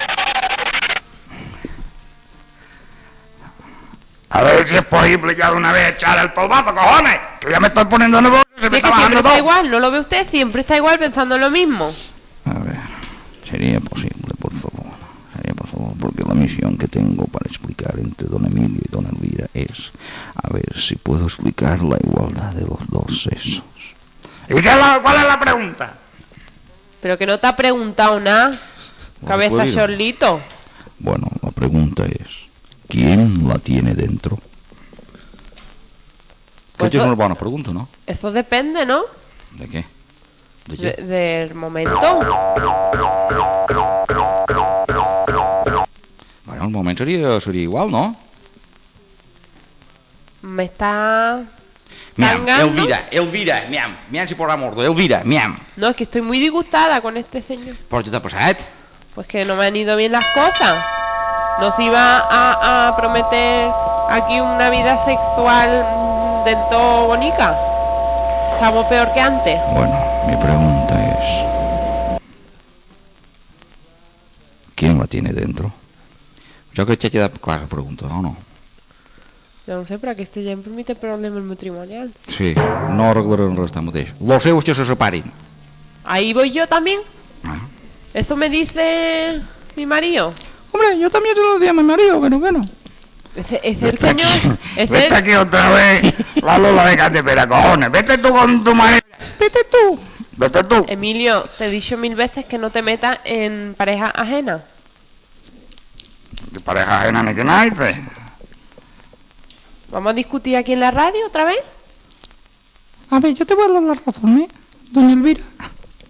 I: A ver si es posible ya de una vez echar el polvazo, cojones. Que ya me estoy poniendo nervioso y se me
F: Es que
I: está
F: siempre
I: bajando
F: está
I: todo.
F: igual, ¿no lo ve usted? Siempre está igual pensando en lo mismo.
E: A ver. Sería posible, por favor. Sería por favor, porque la misión que tengo para explicar entre don Emilio y don Elvira es a ver si puedo explicar la igualdad de los dos sexos.
I: ¿Y qué es la- cuál es la pregunta?
F: Pero que no te ha preguntado nada. Cabeza
E: Bueno,
F: chorlito.
E: Bueno, la pregunta es, ¿quién la tiene dentro?
F: Pues
E: que es
F: do-
E: una buena pregunta, ¿no?
F: Eso depende, ¿no?
E: ¿De qué? ¿De qué?
F: De- del momento.
E: Bueno, el momento sería, sería igual, ¿no?
F: Me está...
J: Miam,
F: Tangando.
J: Elvira, Elvira, miam, miam si por amor, de Elvira, miam.
F: No, es que estoy muy disgustada con este señor.
J: Però què t'ha passat?
F: Pues que no me han ido bien las cosas. Nos iba a, a prometer aquí una vida sexual mm, del todo bonita. Estamos peor que antes.
E: Bueno, mi pregunta es... ¿Quién la tiene dentro? Yo creo que te queda clara la pregunta, ¿o no?
F: Yo no sé, pero que este ya em permite problemas matrimonial.
E: Sí, no arreglaron res mateix. Los seus que se separen.
F: Ahí voy yo también. Eso me dice mi marido.
E: Hombre, yo también se lo di a mi marido, pero bueno.
F: Ese, ese el señor. Ese
I: Vete
F: el,
I: aquí otra vez. La lula de Catepera, cojones. Vete tú con tu marido. Vete tú. Vete tú.
F: Emilio, te he dicho mil veces que no te metas en pareja ajena.
I: Que pareja ajena ni que nace.
F: ¿Vamos a discutir aquí en la radio otra vez?
H: A ver, yo te voy a dar la razón, ¿eh? Doña Elvira.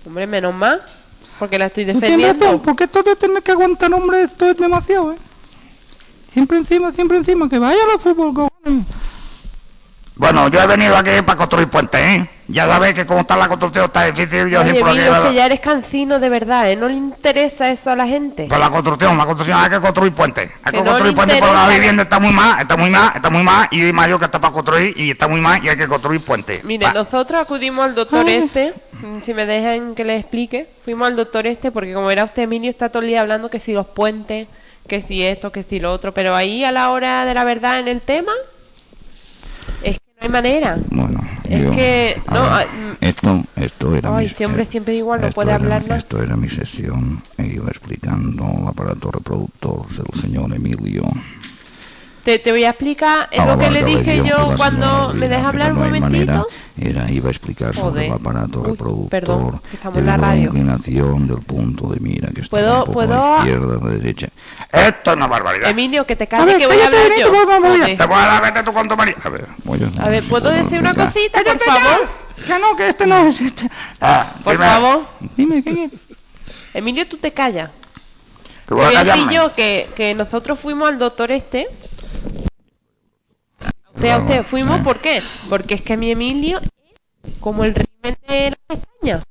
F: Hombre, menos mal. Porque la estoy
H: Tú tienes razón,
E: pues.
F: defendiendo.
H: porque esto de tener que aguantar, hombre, esto es demasiado, ¿eh? Siempre encima, siempre encima, que vaya al fútbol, cojones.
I: Bueno, yo he venido aquí para construir puentes, ¿eh? Ya sabéis que como está la construcción está difícil. Yo
F: Oye,
I: siempre aquí...
F: Emilio, que ya eres cancino de verdad, ¿eh? No le interesa eso a la gente.
I: Pues la construcción, la construcción, hay que construir puentes. Hay
F: Que
I: que,
F: no le
I: construir puentes porque la
F: interesa.
I: vivienda está muy mal, está muy mal, está muy mal. Y mayor que está para construir y está muy mal y hay que construir puentes.
F: Mire,
I: Va.
F: nosotros acudimos al doctor
H: Ay.
F: este, mm, si me dejan que le explique, fuimos al doctor este porque como era usted Emilio está todo el día hablando que si los puentes, que si esto, que si lo otro, pero ahí a la hora de la verdad en el tema es que no hay manera.
E: Bueno,
F: Es
E: yo-
F: que,
E: a
F: no,
E: ver,
F: ah, mm.
E: esto, esto era
F: Ay,
E: mi-
F: este hombre
E: eh,
F: siempre igual, no
E: esto
F: puede
E: era-
F: hablar nada.
E: Esto era mi sesión, e iba explicando el aparato reproductor del señor Emilio.
F: Te, te voy a explicar es
E: a la
F: lo que le
E: larga
F: dije
E: dio que
F: yo
E: pues la
F: cuando
E: señora
F: me
E: Elvira,
F: deja
E: que
F: hablar un
E: no hay manera,
F: momentito.
E: era, iba a explicar sobre el
F: Joder.
E: aparato
F: Uy,
E: reproductor.
F: perdón, que estamos en
E: debido
F: la
E: a
F: radio.
E: inclinación del punto de mira que está
F: ¿Puedo-
E: un poco a
F: puedo-
E: la izquierda, a la derecha.
I: Esto es una barbaridad.
F: Emilio, que te
H: A
F: calles
H: ver,
F: que voy a
H: cállate,
F: hablar
H: vete,
F: yo.
H: vamos, vamos,
F: Joder.
H: vete.
I: Te voy a dar, vete tú con tu marido. A ver.
E: Voy
F: A ver,
E: si
F: ¿puedo decir una
E: explicar.
F: cosita, por
H: ¡Cállate
F: favor? Mm.
H: ya! Que no, que este no es este.
I: Ah,
F: Por
I: dime,
F: favor.
H: Dime, ¿qué quieres?
F: Emilio, tú te callas.
I: Que voy a
F: Voy a decir
I: callarme.
F: yo que, que nosotros fuimos al doctor este. A usted, a usted, fuimos, ¿por qué? Porque es que mi Emilio es como el régimen de las pestañas,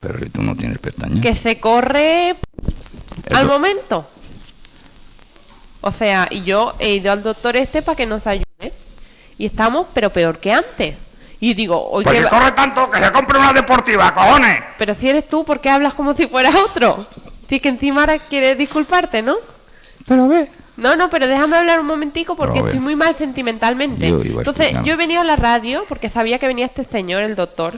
E: Pero si tú no tienes pestañas.
F: que se corre
E: El
F: al
E: do-
F: momento. O sea, y yo he ido al doctor este para que nos ayude. Y estamos, pero peor que antes. Y digo, oye,
I: Pues si corre tanto, que se compre una deportiva, cojones.
F: pero si eres tú, ¿por qué hablas como si fueras otro? Si es que encima ahora quieres disculparte, ¿no?
H: Pero a ver,
F: No, no, pero déjame hablar un momentico porque
G: Pero a ver.
F: estoy muy mal sentimentalmente.
G: Yo iba
F: Entonces,
G: escuchando.
F: yo he venido a la radio porque sabía que venía este señor, el doctor.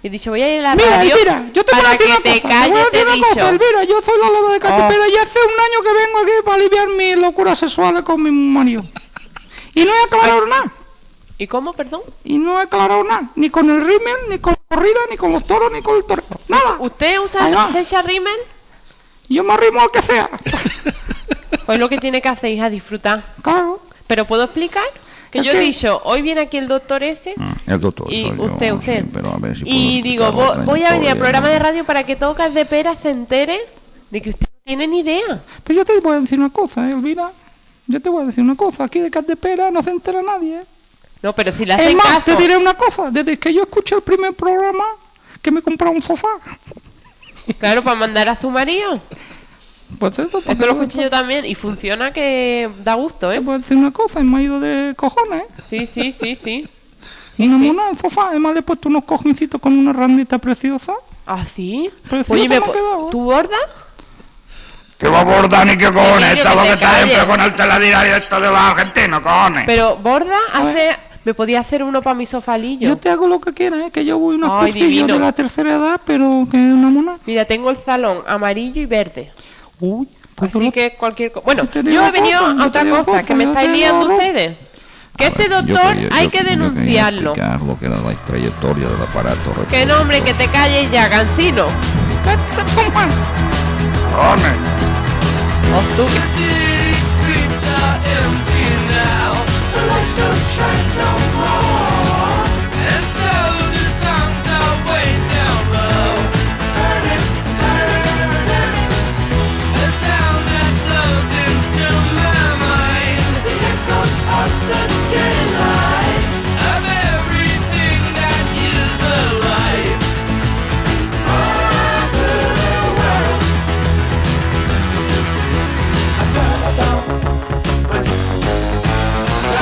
F: Y he dicho, voy a ir a la
H: mira,
F: radio
H: Elvira, yo te voy
F: para
H: a decir
F: que
H: una
F: te
H: cosa. te voy a
F: calles, este Oh.
H: decir
F: he
H: una cosa,
F: dicho.
H: Elvira, yo soy Lola de Catipera y hace un año que vengo aquí para aliviar mis locuras sexuales con mi marido. Y no he aclarado nada.
F: ¿Y cómo, perdón?
H: Y no he aclarado nada. Ni con el rímel, ni con la corrida, ni con los toros, ni con el torero. Nada.
F: ¿Usted
H: Ahí
F: usa
H: va.
F: Sesha Rimmel?
H: Yo me arrimo al que sea.
F: Pues lo que tiene que hacer, hija, disfrutar.
H: Claro.
F: ¿Pero puedo explicar? Que
H: ¿El
F: yo he
H: qué?
F: dicho, hoy viene aquí el doctor ese
E: mm,
G: El doctor.
F: y
G: soy Ah, yo,
F: usted,
G: sí,
F: usted.
G: pero a ver si puedo
F: y digo,
G: explicar
F: vo-
G: la
F: voy a venir al
G: trayectoria,
F: programa
G: ¿no?
F: de radio para que tocas de pera se entere de que usted no tiene ni idea.
H: Pero yo te voy a decir una cosa, eh, Elvira. Yo te voy a decir una cosa. Aquí de Catepera no se entera nadie. ¿eh?
F: No, pero si le
H: Es
F: hacen
H: más,
F: caso...
H: te diré una cosa. Desde que yo escuché el primer programa, que me compré un sofá.
F: Claro, para mandar a su marido.
H: Pues eso, pues
F: Esto lo
H: eso,
F: escuché yo también y funciona que da gusto,
H: Te
F: ¿eh?
H: voy a decir una cosa, y me ha ido de cojones. ¿eh?
F: Sí, sí, sí, sí.
H: Una mona en sofá. Además le he puesto unos cojincitos con una randita preciosa.
F: ¿Ah, sí?
H: Pero si no se me ha
F: po-
H: quedado.
F: ¿tú gorda?
I: Que va a bordar ni que cojones.
F: Sí, que
I: Esta
F: te
I: lo que está
F: calles.
I: dentro con el telediario esto de los argentinos, cojones.
F: Pero gorda hace... Me podía hacer uno para mi sofalillo.
H: Yo te hago lo que quieras, ¿eh? que yo voy unos
F: Ay,
H: cursillos
F: divino.
H: de la tercera edad, pero que es una mona.
F: Mira, tengo el salón amarillo y verde.
H: Uy, pues yo
F: Así
H: lo-
F: que cualquier cosa. Bueno,
H: Yo te
F: yo
H: digo
F: he venido
H: cosas, yo
F: a
H: te
F: otra
H: digo
F: cosa,
H: cosas,
F: que me
H: yo
F: estáis
H: te digo Ah,
F: liando
H: cosas.
F: ustedes. Que
G: A
F: este
G: ver, yo
F: doctor
G: quería-
F: hay
G: yo-
F: que
G: yo quería
F: denunciarlo.
G: explicar lo que era la trayectoria del aparato.
F: Que no, hombre, que te calles ya, Gancino.
H: Vete a tomar.
I: Cojones.
F: O tú, que-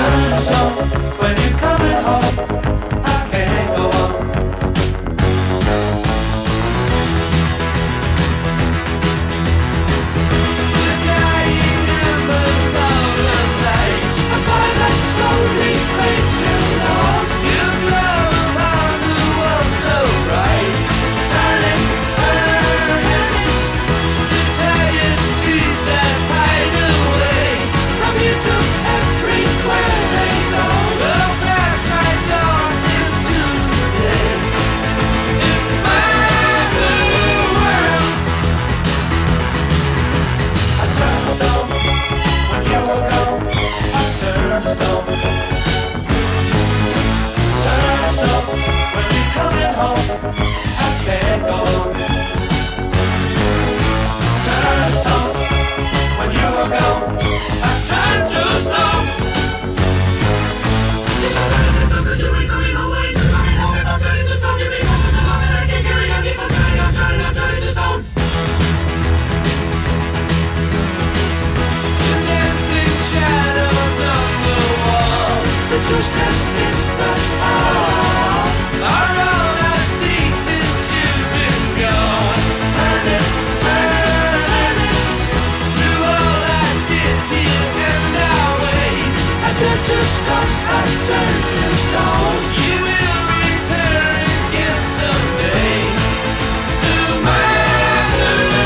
B: When you're coming home, I can't go on.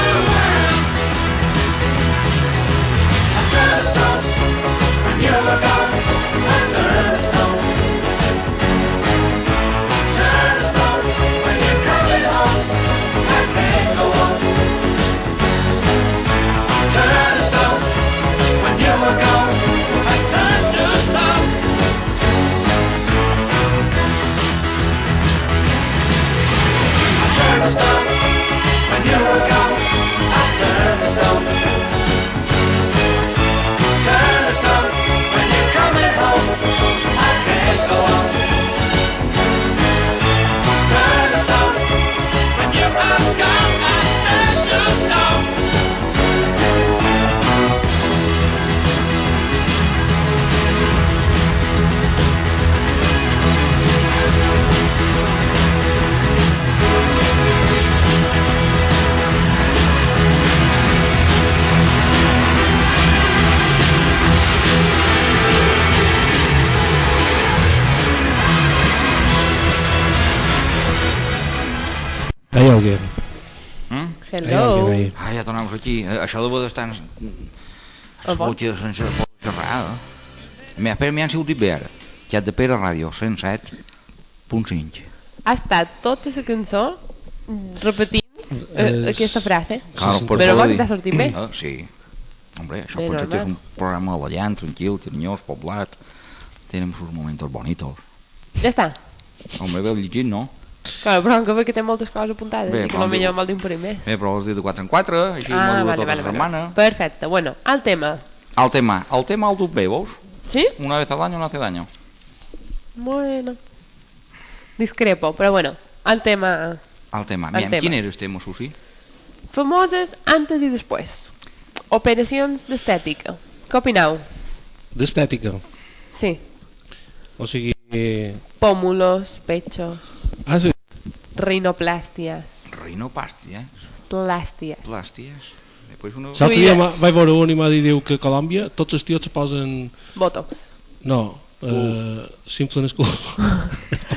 B: Turn to stone.
I: aquí, eh, això deu estar en...
F: A
I: Les
F: vol?
I: botxes sense Montserrat. Més per mi han sigut d'hivern. Ja de Pere Ràdio, 107.5.
F: Ha estat tota la cançó repetint eh,
D: És-
F: aquesta frase.
I: Claro, per
F: Però va,
I: poder
F: que t'ha
I: dir.
F: sortit bé.
I: Ah, sí. Hombre, això
F: Bé,
I: potser
F: normal.
I: és un programa ballant, tranquil, carinyós, poblat. Tenen sus momentos bonitos.
F: Ja està.
I: Hombre, veu llegit, no?
F: Claro, però que ve que té moltes coses apuntades
I: Bé,
F: i que
I: bon
F: no
I: dia.
F: millor me'l d'imprimer.
I: Bé, però has dit de 4 en 4, així ah, m'ho vale, tota vale, la setmana.
F: Perfecte. Bueno, al tema.
I: El tema, el tema el duc bé, veus?
F: ¿Sí?
I: Una vez al año no hace daño.
F: Bueno. Discrepo, però bueno, al tema.
I: El tema.
F: El
I: Bien,
F: tema.
I: quin era el tema, Susi?
F: Famoses antes i després. Operacions d'estètica. Què opinau?
D: D'estètica.
F: Sí.
D: O sigui... eh,
F: Pómulos, pechos,
D: Ah, sí.
F: rinoplastias,
I: Rinopàsties,
F: plastias.
I: plàsties... Després una...
F: Sap-
D: L'altre dia ma- vaig veure un i m'ha dit diu que a Colòmbia tots els tios se posen...
F: Botox.
D: No, eh, s'inflen el cul.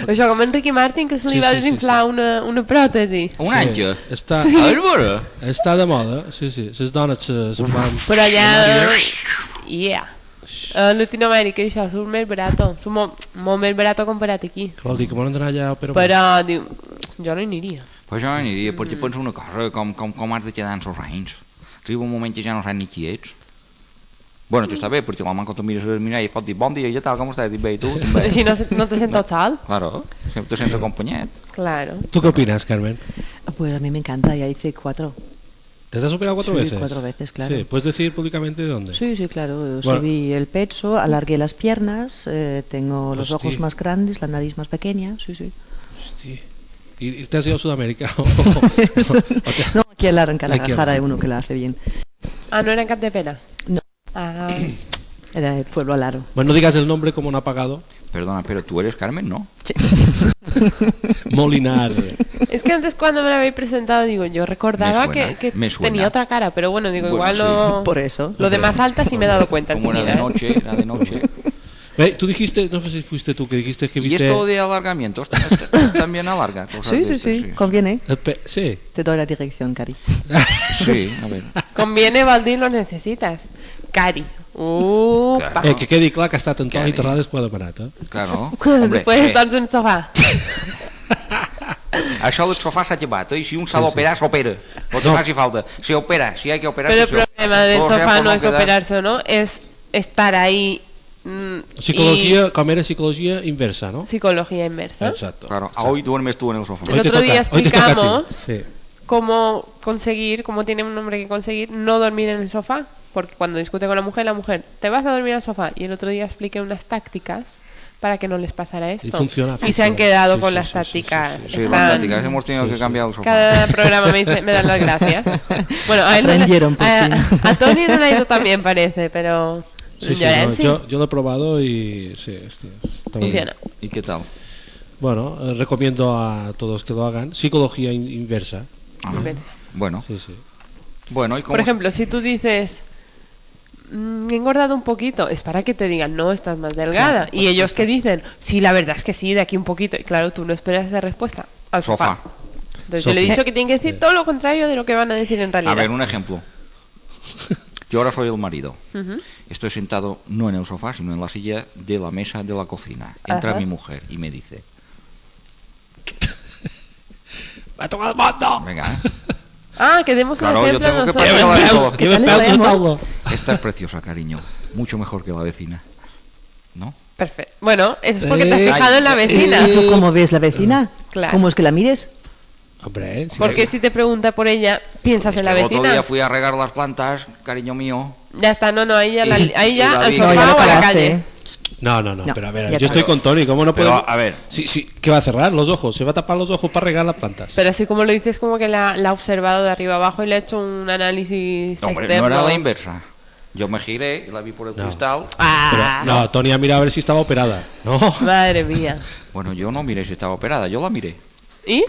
F: Això com Enrique Martin que se li
D: Sí,
F: va
D: sí, sí,
F: desinflar una, una pròtesi.
I: Un any que...
D: Està,
I: A veure...
D: està de moda, sí, sí. Les dones se, se van...
F: Però allà... Yeah. Eh, A Latinoamèrica això surt més barat. Surt molt, molt més barat comparat aquí.
D: Què vol dir? Que volen anar allà a Perú?
F: Però diu, jo no hi aniria.
I: Però jo no aniria, perquè penso una cosa, com, com, com has de quedar en els anys. Arriba un moment que ja no saps ni qui ets. Bueno, això està bé, perquè l'home quan tu mires a mirar i pot dir bon dia, ja tal, com estàs? Dic bé, i tu? També.
F: Així no, se- no te sento sol.
I: Claro, sempre sense acompanyat.
F: Claro.
D: ¿Tú qué opinas, Carmen?
H: Pues a mí me encanta, ya hice cuatro.
D: ¿Te has operado cuatro
H: Sí,
D: veces?
H: cuatro veces, claro.
D: Sí, ¿Puedes decir públicamente de dónde?
H: Sí, sí, claro.
D: Bueno.
H: Subí el pecho, alargué las piernas, eh, tengo los
D: Hostia.
H: ojos más grandes, la nariz más pequeña. Sí, sí.
D: Hostia. ¿Y y te has ido a Sudamérica?
H: no, aquí en la en
D: Aquí.
H: Guadalajara hay uno que la hace bien.
F: Ah, no era en cap de pena.
H: No.
F: Ah,
H: Era el pueblo Eh, pues alaro.
D: bueno, no digas el nombre como no ha pagado.
I: Perdona, però tu eres Carmen, no?
D: Molinar.
F: es que antes cuando me la habéis presentado, digo, yo recordaba
I: Me
F: que,
I: suena,
F: que
I: me suena.
F: tenía otra cara, pero bueno, digo,
I: Bueno,
F: igual
I: sí.
F: no...
H: Por eso.
F: Lo de más alta sí me he dado cuenta
I: Como era de
F: enseguida. ¿eh?
I: noche, era de noche.
D: Ve, tú dijiste, no sé si fuiste tú que dijiste que
I: Y
D: viste...
I: esto de alargamientos también alarga cosas
H: Sí,
I: de
H: sí,
I: estas,
H: sí, Conviene.
D: Eh, pe- Sí.
H: Te doy la dirección, Cari.
I: Sí, a ver.
F: Conviene, Valdir, lo necesitas. Cari. Upa.
D: Eh, que quedi clar que ha estat Antoni
I: Carai.
D: Terrades quan ha parat, eh?
I: Claro. Hombre,
F: Después
I: eh,
F: estar en el sofá.
I: això del sofà s'ha llevat, eh? I si un s'ha d'operar, s'opera. O que
D: No.
I: faci falta. Si opera, si hay que operar,
F: Pero el
I: se opera.
F: problema del
I: Todo sea
F: sofá
I: por
F: no es
I: quedar-
F: operarse o no, es estar ahí. mm,
D: Psicologia, com era psicologia inversa, no?
F: y psicología inversa.
D: Exacto.
I: Claro, ah, hoy duermes tú en el sofá.
F: El
D: te
F: otro
D: toca,
F: día
D: hoy te toca a ti.
F: explicamos-
D: Sí.
F: Cómo conseguir, cómo tiene un hombre que conseguir no dormir en el sofá. Porque cuando discute con la mujer, la mujer, te vas a dormir al sofá. Y el otro día expliqué unas tácticas para que no les pasara esto.
D: Y funciona,
F: Y se han
D: funciona.
F: quedado
D: Sí,
F: con
D: sí,
F: las
D: sí, sí, sí,
F: tácticas.
D: sí,
I: Sí,
F: Están-
I: las tácticas, hemos tenido que cambiar el sofá.
F: Cada programa me, dice- me dan las gracias. Bueno, a, él no le-
H: Aprendieron por
F: a,
H: fin.
F: a Tony no le ha ido también, parece, pero.
D: Sí, sí,
F: yo a
D: no,
F: él sí.
D: yo, yo lo he probado y sí, este, está muy bien.
F: Funciona.
I: ¿Y qué tal?
D: Bueno, eh, recomiendo a todos que lo hagan. Psicología in- inversa.
F: Inversa.
I: Bueno,
D: Sí, sí.
I: bueno, ¿y cómo?
F: Por ejemplo, si tú dices, "Mm, he engordado un poquito, es para que te digan, no, estás más delgada. y ellos que dicen, sí, la verdad es que sí, de aquí un poquito. Y claro, tú no esperas esa respuesta. Al sofá.
I: Sofá.
F: Entonces yo le he
D: Sofá.
F: dicho que tienen que decir todo lo contrario de lo que van a decir en realidad.
I: A ver, un ejemplo. Yo ahora soy el marido.
F: Ujú.
I: Estoy sentado no en el sofá, sino en la silla de la mesa de la cocina. Entra
F: Ajá.
I: mi mujer y me dice,
D: ¡Me ha tomado el mando!
I: venga,
F: Ah, que demos
I: Claro,
F: un
I: yo
F: ejemplo
I: tengo que
F: nosotros.
I: pensar la-
D: Peus,
I: ¿Qué
D: lleva
H: tal
D: peus
H: le
D: de
H: vemos?
D: taula.
I: esta es preciosa, cariño, mucho mejor que la vecina. ¿No?
F: Perfecto. Bueno, eso es porque te
D: Eh,
F: has fijado en la
I: ay,
F: vecina.
H: ¿Y Ah, tú cómo ves la vecina?
F: Claro.
H: ¿Cómo es que la mires?
D: Hombre, eh, sí.
F: Porque si te pregunta por ella, piensas en la
I: El otro día
F: vecina.
I: fui a regar las plantas, cariño mío.
F: Ya está, no, no, ahí ya, la-
I: Y-
F: ahí ya
I: y la
F: al
I: vi-
F: sofá
I: No, ya
H: la
F: o a la
H: paraste,
F: calle.
H: ¿eh?
D: No, no, no,
H: No,
D: pero a ver,
H: ya
D: yo
H: está.
D: estoy con Tony, ¿cómo
F: Pues,
D: no
I: Pero,
D: puedo...?
I: a ver.
D: Sí, sí, que va a cerrar los ojos, se va a tapar los ojos para regar las plantas.
F: Pero así como lo dices, como que la, la ha observado de arriba abajo y le ha hecho un análisis
I: Hombre,
F: externo.
I: no era la inversa. Yo me giré y la vi por el cristal.
F: Ah,
D: No, Tony ha mirado a ver si estaba operada. No,
F: madre mía.
I: Bueno, yo no miré si estaba operada, yo la miré.
F: ¿Y?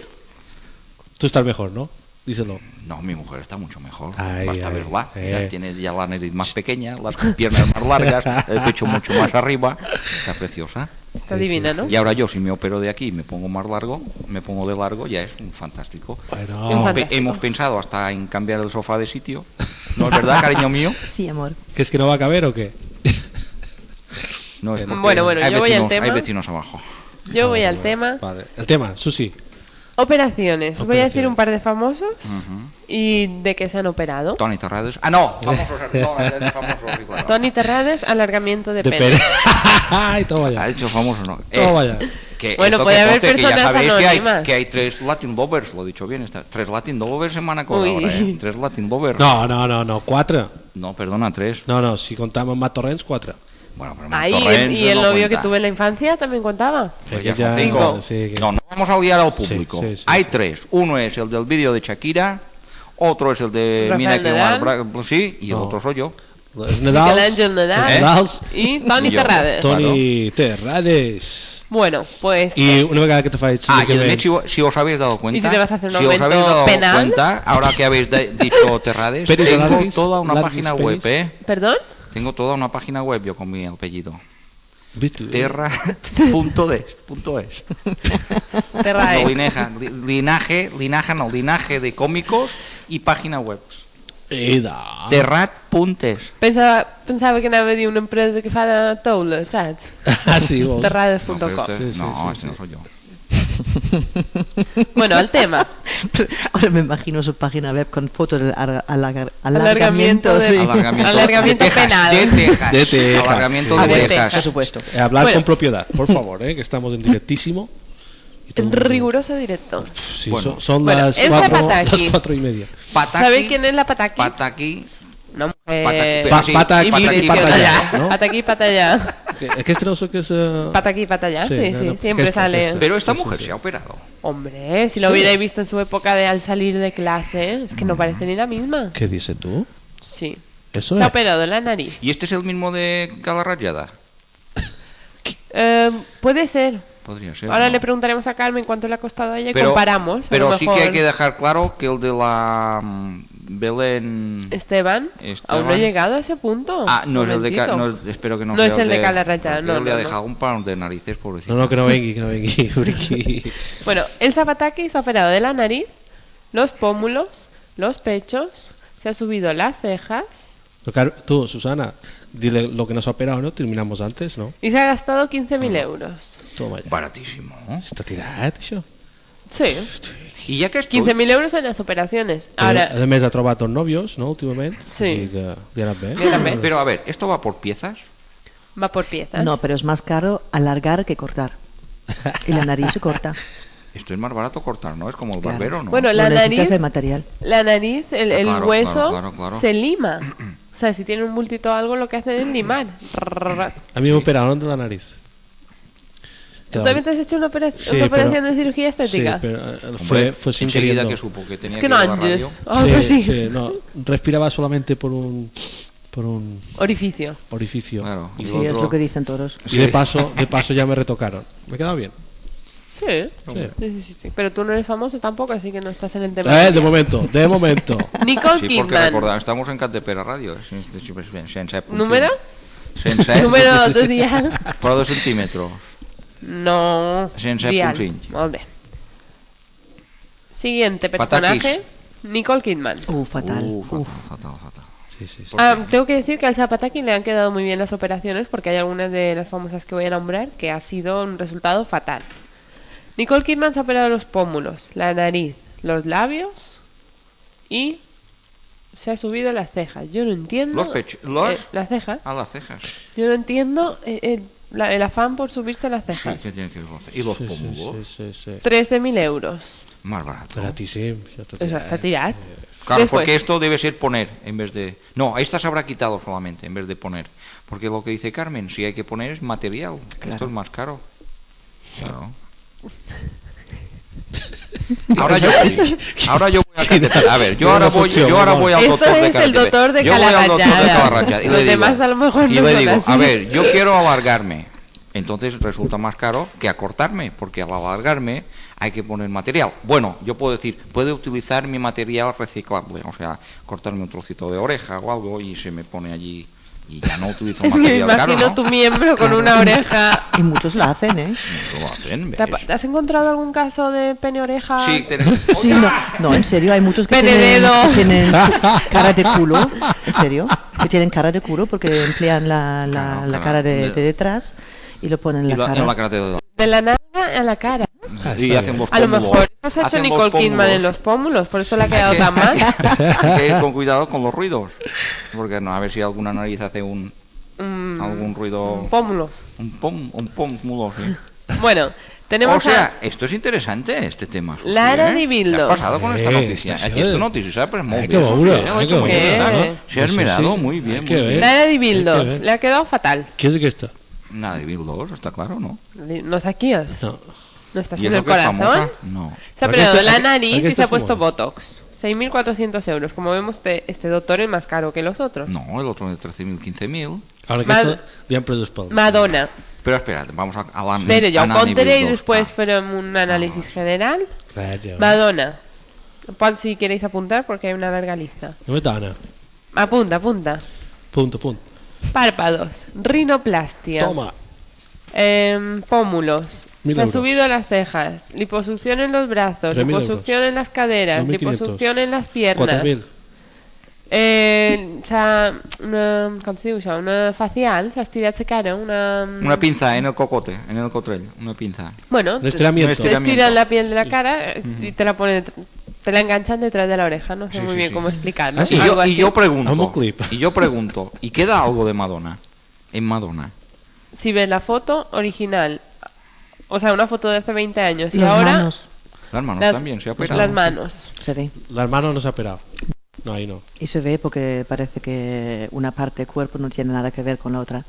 D: tú estás mejor, ¿no? Díselo.
I: No, mi mujer está mucho mejor.
D: Ay,
I: Basta
D: ay,
I: verla. Mira,
D: eh.
I: tiene ya la nariz más pequeña, las piernas más largas, el pecho mucho más arriba. Está preciosa.
F: Está divina, ¿no?
E: Y ahora yo, si me opero de aquí y me pongo más largo, me pongo de largo, ya es un fantástico.
D: Bueno,
E: Hemos, pe-
F: fantástico.
E: hemos pensado hasta en cambiar el sofá de sitio. ¿No es verdad, cariño mío?
A: Sí, amor.
D: ¿que es que no va a caber o qué?
E: No, es porque
F: Bueno, bueno,
E: hay
F: yo voy al
E: vecinos,
F: tema.
E: Hay vecinos abajo.
F: Yo voy al tema.
D: Vale. El tema, Susi.
F: Operaciones. Voy a decir
D: Operaciones.
F: un par de famosos y de qué se han operado.
E: Tony Terrades. Ah, no, famosos. No, es famoso, sí, claro.
F: Tony Terrades, alargamiento de,
D: De
F: pene.
D: pene. Ay, todo
E: Ha
D: allá.
E: dicho famoso, ¿no? Eh,
D: Todo allá.
E: que
F: Bueno,
E: esto
F: puede
E: que
F: haber
E: conste, que ya
F: personas
E: sabéis que hay,
F: anónimas.
E: que hay tres Latin Lovers, lo he dicho bien. Está, tres Latin Lovers semana con
F: Uy.
E: ahora, ¿eh? Tres Latin Lovers.
D: No, no, no, no. Quatre.
E: No, perdona, tres.
D: No, no, si contamos más torrents, cuatro.
E: Bueno, pero
F: Ahí,
E: Torrent
F: y el
E: no
F: novio que
E: cuenta.
F: tuve en la infancia también contaba.
E: Pues
D: Sí,
E: ya
D: que
E: son
D: ya-
E: cinco.
D: sí, que-
E: No, no vamos a odiar al público.
D: Sí, sí, sí,
E: Hay
D: sí.
E: tres. Uno es el del vídeo de Shakira, otro es el de
F: Rafael
E: Mina que
F: Nadal.
E: Omar Bra- pues sí, y
D: No.
E: el otro soy yo.
D: Els Nadals,
F: Michelangelo Nadal.
D: els Nadals,
F: Y Tony
E: Y yo.
F: Terrades.
D: Toni Terrades.
F: Bueno, pues
D: I una vegada que te faig...
E: Ah, y
D: que
E: el Mitch, si, vo- si os habéis dado cuenta.
F: ¿Y si te vas a hacer un
E: si os habéis
F: aumento
E: dado
F: penal?
E: cuenta, ahora que habéis de- dicho Terrades,
D: Peris
E: tengo
D: Alarguis,
E: toda una
D: Alarguis
E: página
D: Peris.
E: web, ¿eh?
F: ¿Perdón?
E: Tengo toda una página web yo con mi apellido.
D: Vitu.
E: Terra.es. punto es. No,
F: Terrae.
E: lineja- li- linaje, linaje, no, linaje de cómicos y página web.
D: Ida.
F: Ah.
E: Terrat.es.
F: Pensava, pensava que anava a dir una empresa que fa de taula, saps?
D: Ah, sí,
E: No,
D: vols.
F: Terrades.com.
E: pero este-
D: Sí, sí,
E: no,
D: sí,
E: este
D: sí.
E: no soy yo.
F: Bueno, el tema.
A: Ahora me imagino su página web con fotos del ar- alargar-
F: Alargamiento
A: alargamiento,
F: de-
A: sí.
E: Alargamiento,
F: Alargamiento
E: de Texas,
F: penal.
E: De Texas.
D: De Texas,
E: Alargamiento
D: sí.
E: de
F: Ah, de
E: Texas.
A: Por supuesto.
D: Eh, hablar
F: Bueno.
D: con propiedad, por favor, eh, que estamos en directísimo. Y todo el mundo-
F: Riguroso directo.
D: Sí,
E: Bueno.
D: son, son
F: Bueno,
D: las,
F: es la
D: cuatro,
F: Pataki.
D: las cuatro y media.
E: Pataki.
F: ¿Sabéis quién es la Pataki?
E: Pataki.
F: Una
E: Pataki.
F: mujer...
E: Pero sí,
D: pata aquí,
E: Pataki,
D: pata
E: Pataki.
D: allá. ¿no?
F: Pataki, patallá.
D: Eh, Aquest no sé que es... eh,
F: Pataki, patallá.
D: Sí,
F: Sí, sí,
D: no, no,
E: Este,
F: siempre
D: esta,
F: sale.
D: esta.
E: Pero esta
D: Sí, sí,
E: mujer
D: sí.
E: se ha operado.
F: Hombre, si lo hubierais visto en su época de al salir de clase, es que no parece ni la misma.
D: ¿Qué dices tú?
F: Sí.
D: Eso
F: Se ha
D: es.
F: operado la nariz.
E: ¿Y este es el mismo de Cala Rayada?
F: Eh, puede ser.
E: Podría ser.
F: Ahora
E: ¿no?
F: le preguntaremos a Carmen cuánto le ha costado a ella y
E: Pero-
F: comparamos. a
E: Pero
F: lo
E: sí que hay
F: mejor.
E: que dejar claro que el de la mm, Belén.
F: Esteban,
E: Esteban.
F: aún no he llegado a ese punto.
E: Ah, no es el de. Ca-
F: Momentito.
E: no es- espero que no,
F: No
E: sea
F: es el de Cala
E: creo
F: Rayada,
E: que Le
F: no,
E: ha
F: no, no.
E: dejado un par de narices, pobrecito.
D: No, no, que no vengui, que no vengui, Briqui.
F: Bueno, el zapataki se ha operado de la nariz, los pómulos, los pechos, se ha subido las cejas
D: Pero claro, Tú, Susana, dile lo que nos ha operado, ¿no? Terminamos antes, ¿no?
F: y se ha gastado
E: Ah.
F: 15.000 euros.
D: Toma ya.
E: Baratísimo. ¿no?
D: Està tirat, això.
F: Sí,
E: Y ya que estoy.
F: 15.000 euros en las operaciones. Ahora,
E: eh,
D: Però, a més, ha trobat dos nòvios, no, últimament?
F: Sí.
D: O sigui que li ha anat bé.
F: Espérame.
E: Pero a ver, ¿esto va por piezas?
F: va por piezas.
A: No, pero es más caro alargar que cortar. Y la nariz se corta.
E: Esto es más barato cortar, ¿no? Es como el
A: Claro.
E: barbero, ¿no?
F: Bueno, la
A: no necesitas
F: nariz,
A: el material.
F: la nariz, el, el
E: Claro,
F: hueso
E: claro, claro, claro.
F: se lima. O sea, si tiene un bultito o algo, lo que hacen es limar.
D: A mi m'operaron de la nariz.
F: ¿Tú también te has hecho una, opera-
D: Sí,
F: una operación de
D: pero-
F: cirugía
D: Sí,
F: estética?
D: pero eh,
E: Hombre,
D: fue, fue sin
E: enseguida
D: queriendo.
E: que supo que tenía que
F: es que no
E: ir a la radio.
F: andes. Ah, pues sí.
D: sí, no, respiraba solamente por un por un
F: Orificio.
D: orificio.
E: Claro. y
A: Sí,
E: lo
A: es
E: otro-
A: lo que dicen todos.
D: Y de paso, de paso ya me retocaron. Me quedaba bien.
F: Sí.
D: Sí.
F: Sí, sí, sí, sí. Pero tú no eres famoso tampoco, así que no estás en el tema.
D: Eh,
F: del
D: de
F: día.
D: momento, de momento.
F: Nicole
E: Sí, porque
F: Kidman.
E: recordad, estamos en Cantepera Radio. eh, sen- sen- sense-
F: ¿Número?
E: Sense-
D: Eh,
F: Número de dial.
E: Però dos centímetros.
F: No.
E: Sense
F: dial.
E: punxinch.
F: Hombre. Siguiente
E: Pataquis.
F: personaje. Nicole Kidman.
A: Uh, fatal.
E: Uh, fatal,
A: Uf.
E: fatal, fatal.
D: Sí, sí, sí.
F: Ah, tengo que decir que al Zapataki le han quedado muy bien las operaciones porque hay algunas de las famosas que voy a nombrar que ha sido un resultado fatal. Nicole Kidman se ha operado los pómulos, la nariz, los labios y se ha subido las cejas. Yo no entiendo...
E: Los pech- los-
F: eh, las cejas.
E: A las cejas.
F: Yo no entiendo eh, el, la- el afán por subirse las cejas.
E: ¿Qué tiene que ver con las cejas? Y los
D: Sí, sí,
E: pómulos.
D: sí, sí, sí.
F: 13.000 euros.
E: Más barato.
D: Baratísimo, ya te
F: Eso
D: diré.
F: está tirado.
E: Claro,
F: Después.
E: porque esto debe ser poner en vez de... No, esta se habrá quitado solamente en vez de poner. Porque lo que dice Carmen, si hay que poner es material. Esto es más caro. Claro. Ahora yo, voy- ahora yo voy a Cantepera. A ver, yo
D: Qué
E: ahora voy,
D: decepción,
E: yo ahora voy al
F: Esto
E: doctor de
F: es el
E: Cantepera.
F: doctor de
E: Yo voy al doctor de
F: Calarayada.
E: Calarayada y
F: Los
E: le digo,
F: demás a lo mejor
E: y
F: no
E: le
F: son
E: digo, a
F: así.
E: ver, yo quiero alargarme. Entonces resulta más caro que acortarme, porque al alargarme hay que poner material. Bueno, yo puedo decir, puedo utilizar mi material reciclable, o sea, cortarme un trocito de oreja o algo y se me pone allí
G: y ya no utilizo
F: Es que me
G: material caro,
F: imagino
G: ¿no?
F: tu miembro con una oreja.
A: Y muchos la hacen, ¿eh?
G: Lo hacen,
F: ¿Te ha-
G: ¿ves?
F: ¿Te has encontrado algún caso de pene oreja?
E: Sí, tenemos.
A: Sí, no, no, en serio, hay muchos que
F: Benedetto.
A: tienen, que tienen cara de culo, en serio, que tienen cara de culo porque emplean la, la,
E: Claro,
A: la
E: claro.
A: cara de, de detrás y lo ponen en
E: Y
A: la
E: la-
A: cara.
E: en la cara de-
F: De la nada a la cara.
D: Ah,
E: y
D: está
E: hacen
D: bien.
E: los
F: A lo
E: pómulos.
F: mejor has hecho
E: Hacen los
F: Nicole Kidman en
E: pómulos.
F: los pómulos, por eso le ha quedado
E: Sí.
F: tan mal.
E: Hay que ir con cuidado con los ruidos. Porque no, a ver si alguna nariz hace un,
F: Mm,
E: algún ruido.
F: un pómulo.
E: Un pom, un pom, mulo, sí.
F: Bueno, tenemos
E: O sea, esto es interesante, este tema. Susi,
F: Lara
E: ¿eh?
F: de Bildo.
E: ¿Qué ha pasado con esta
D: Sí,
E: noticia?
D: sí,
E: Aquí
D: sí.
E: esto noticia, ¿sabes? Pero es muy
D: Ay, qué
E: bien, Susi,
D: bobura,
E: ¿eh? Lo he
D: ay,
E: hecho
D: qué
E: muy
F: bobura.
E: bien, ¿eh?
D: Sí.
E: Se has
D: Sí, sí,
E: mirado
D: sí.
E: muy
D: Hay
E: bien.
D: que
E: muy
F: a
E: bien.
D: ver.
F: Lara de
D: Hay que ¿eh?
F: Bildos,
D: ver.
F: le ha quedado fatal.
D: ¿Qué es esta?
E: Nada de Bildo, está claro, ¿no?
F: No saquías,
D: No.
F: no estás
E: ¿Y
F: en
E: eso
F: el
E: que es
F: corazón.
E: famosa? No.
F: Se ha
D: ¿Por
F: operado
D: qué este-
F: la
D: por qué- por
F: nariz
D: qué
F: y
D: este
F: se ha puesto
D: famoso?
F: Botox. 6.400 euros. Como vemos, este, este doctor es más caro que los otros.
E: No, el otro de 13.000, 15.000.
D: Ahora que
F: Mad-
D: esto li han preso pel.
F: Madonna.
E: Pero espera, vamos a, a la
F: Pero yo
E: a la
F: contaré y
E: nivel dos.
F: después
E: Ah,
F: faré un análisis general.
D: Calla.
F: Madonna. Pon si queréis apuntar porque hay una larga lista.
D: No me dona.
F: Apunta, apunta.
D: Punto, punto.
F: Párpados. Rinoplastia.
D: Toma.
F: Em, pómulos.
D: Mil
F: Se ha
D: euros.
F: subido las cejas. Liposucción en los brazos.
D: Tres mil
F: Liposucción en las caderas.
D: 2.500.
F: Liposucción en las piernas.
D: 4.000.
F: Eh, s'ha... Una, com se diu això? Una facial, s'ha estirat la cara, una...
E: Una pinza en el cocote, en el cotrell, una pinza.
F: Bueno,
D: Un estiramiento.
E: Un estiramiento.
F: estiran la piel de la cara eh, y te la ponen... detr- Te la enganchan detrás de la oreja, no sé muy
E: sí,
F: bien
E: sí.
F: cómo explicarlo.
D: Ah, sí.
E: Y
F: Algo
E: yo, y
F: así.
E: yo
D: Vamos,
E: pregunto,
D: clip.
E: y yo pregunto, ¿y queda algo de Madonna? En Madonna.
F: Si ves la foto original, o sea, una foto de hace 20 años y
A: Las
F: ahora...
A: manos
E: Las manos
F: las, pues
E: también se ha operado.
F: las manos.
A: se ve.
D: La hermana no se ha operado. No, ahí no.
A: Y se ve porque parece que una parte del cuerpo no tiene nada que ver con la otra.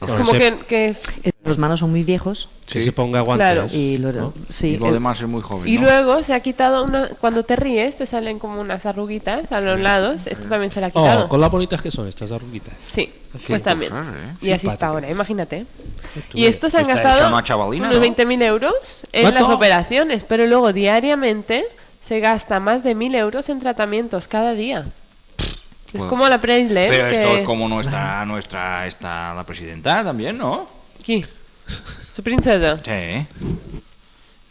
F: Es
D: Bueno,
F: como
D: se-
F: que, que es...
A: Eh, Los manos son muy viejos
D: Que se ponga guantes.
F: Claro.
A: y lo,
D: ¿no?
A: sí,
E: y lo
A: el-
E: demás es muy joven.
F: Y
E: ¿no?
F: luego se ha quitado una... Cuando te ríes te salen como unas arruguitas a los lados. Esto también se la ha quitado.
D: Oh, con las bonitas que son estas arruguitas.
F: Sí,
D: Así
F: pues
D: es.
F: también.
E: Claro, ¿eh?
F: Y así
D: Simpáticas.
F: está ahora, imagínate.
D: Tú
F: Y
D: ves.
F: estos han
E: Está
F: gastado
E: hecha una
F: unos
E: chavalina, ¿no?
F: 20.000 euros en
D: ¿Cuánto?
F: las operaciones, pero luego diariamente se gasta más de 1.000 euros en tratamientos cada día. Es
E: Bueno.
F: como la Preisler.
E: Pero esto
F: que-
E: es como no está nuestra, está la presidenta también, ¿no?
F: Aquí. Su princesa.
E: Sí.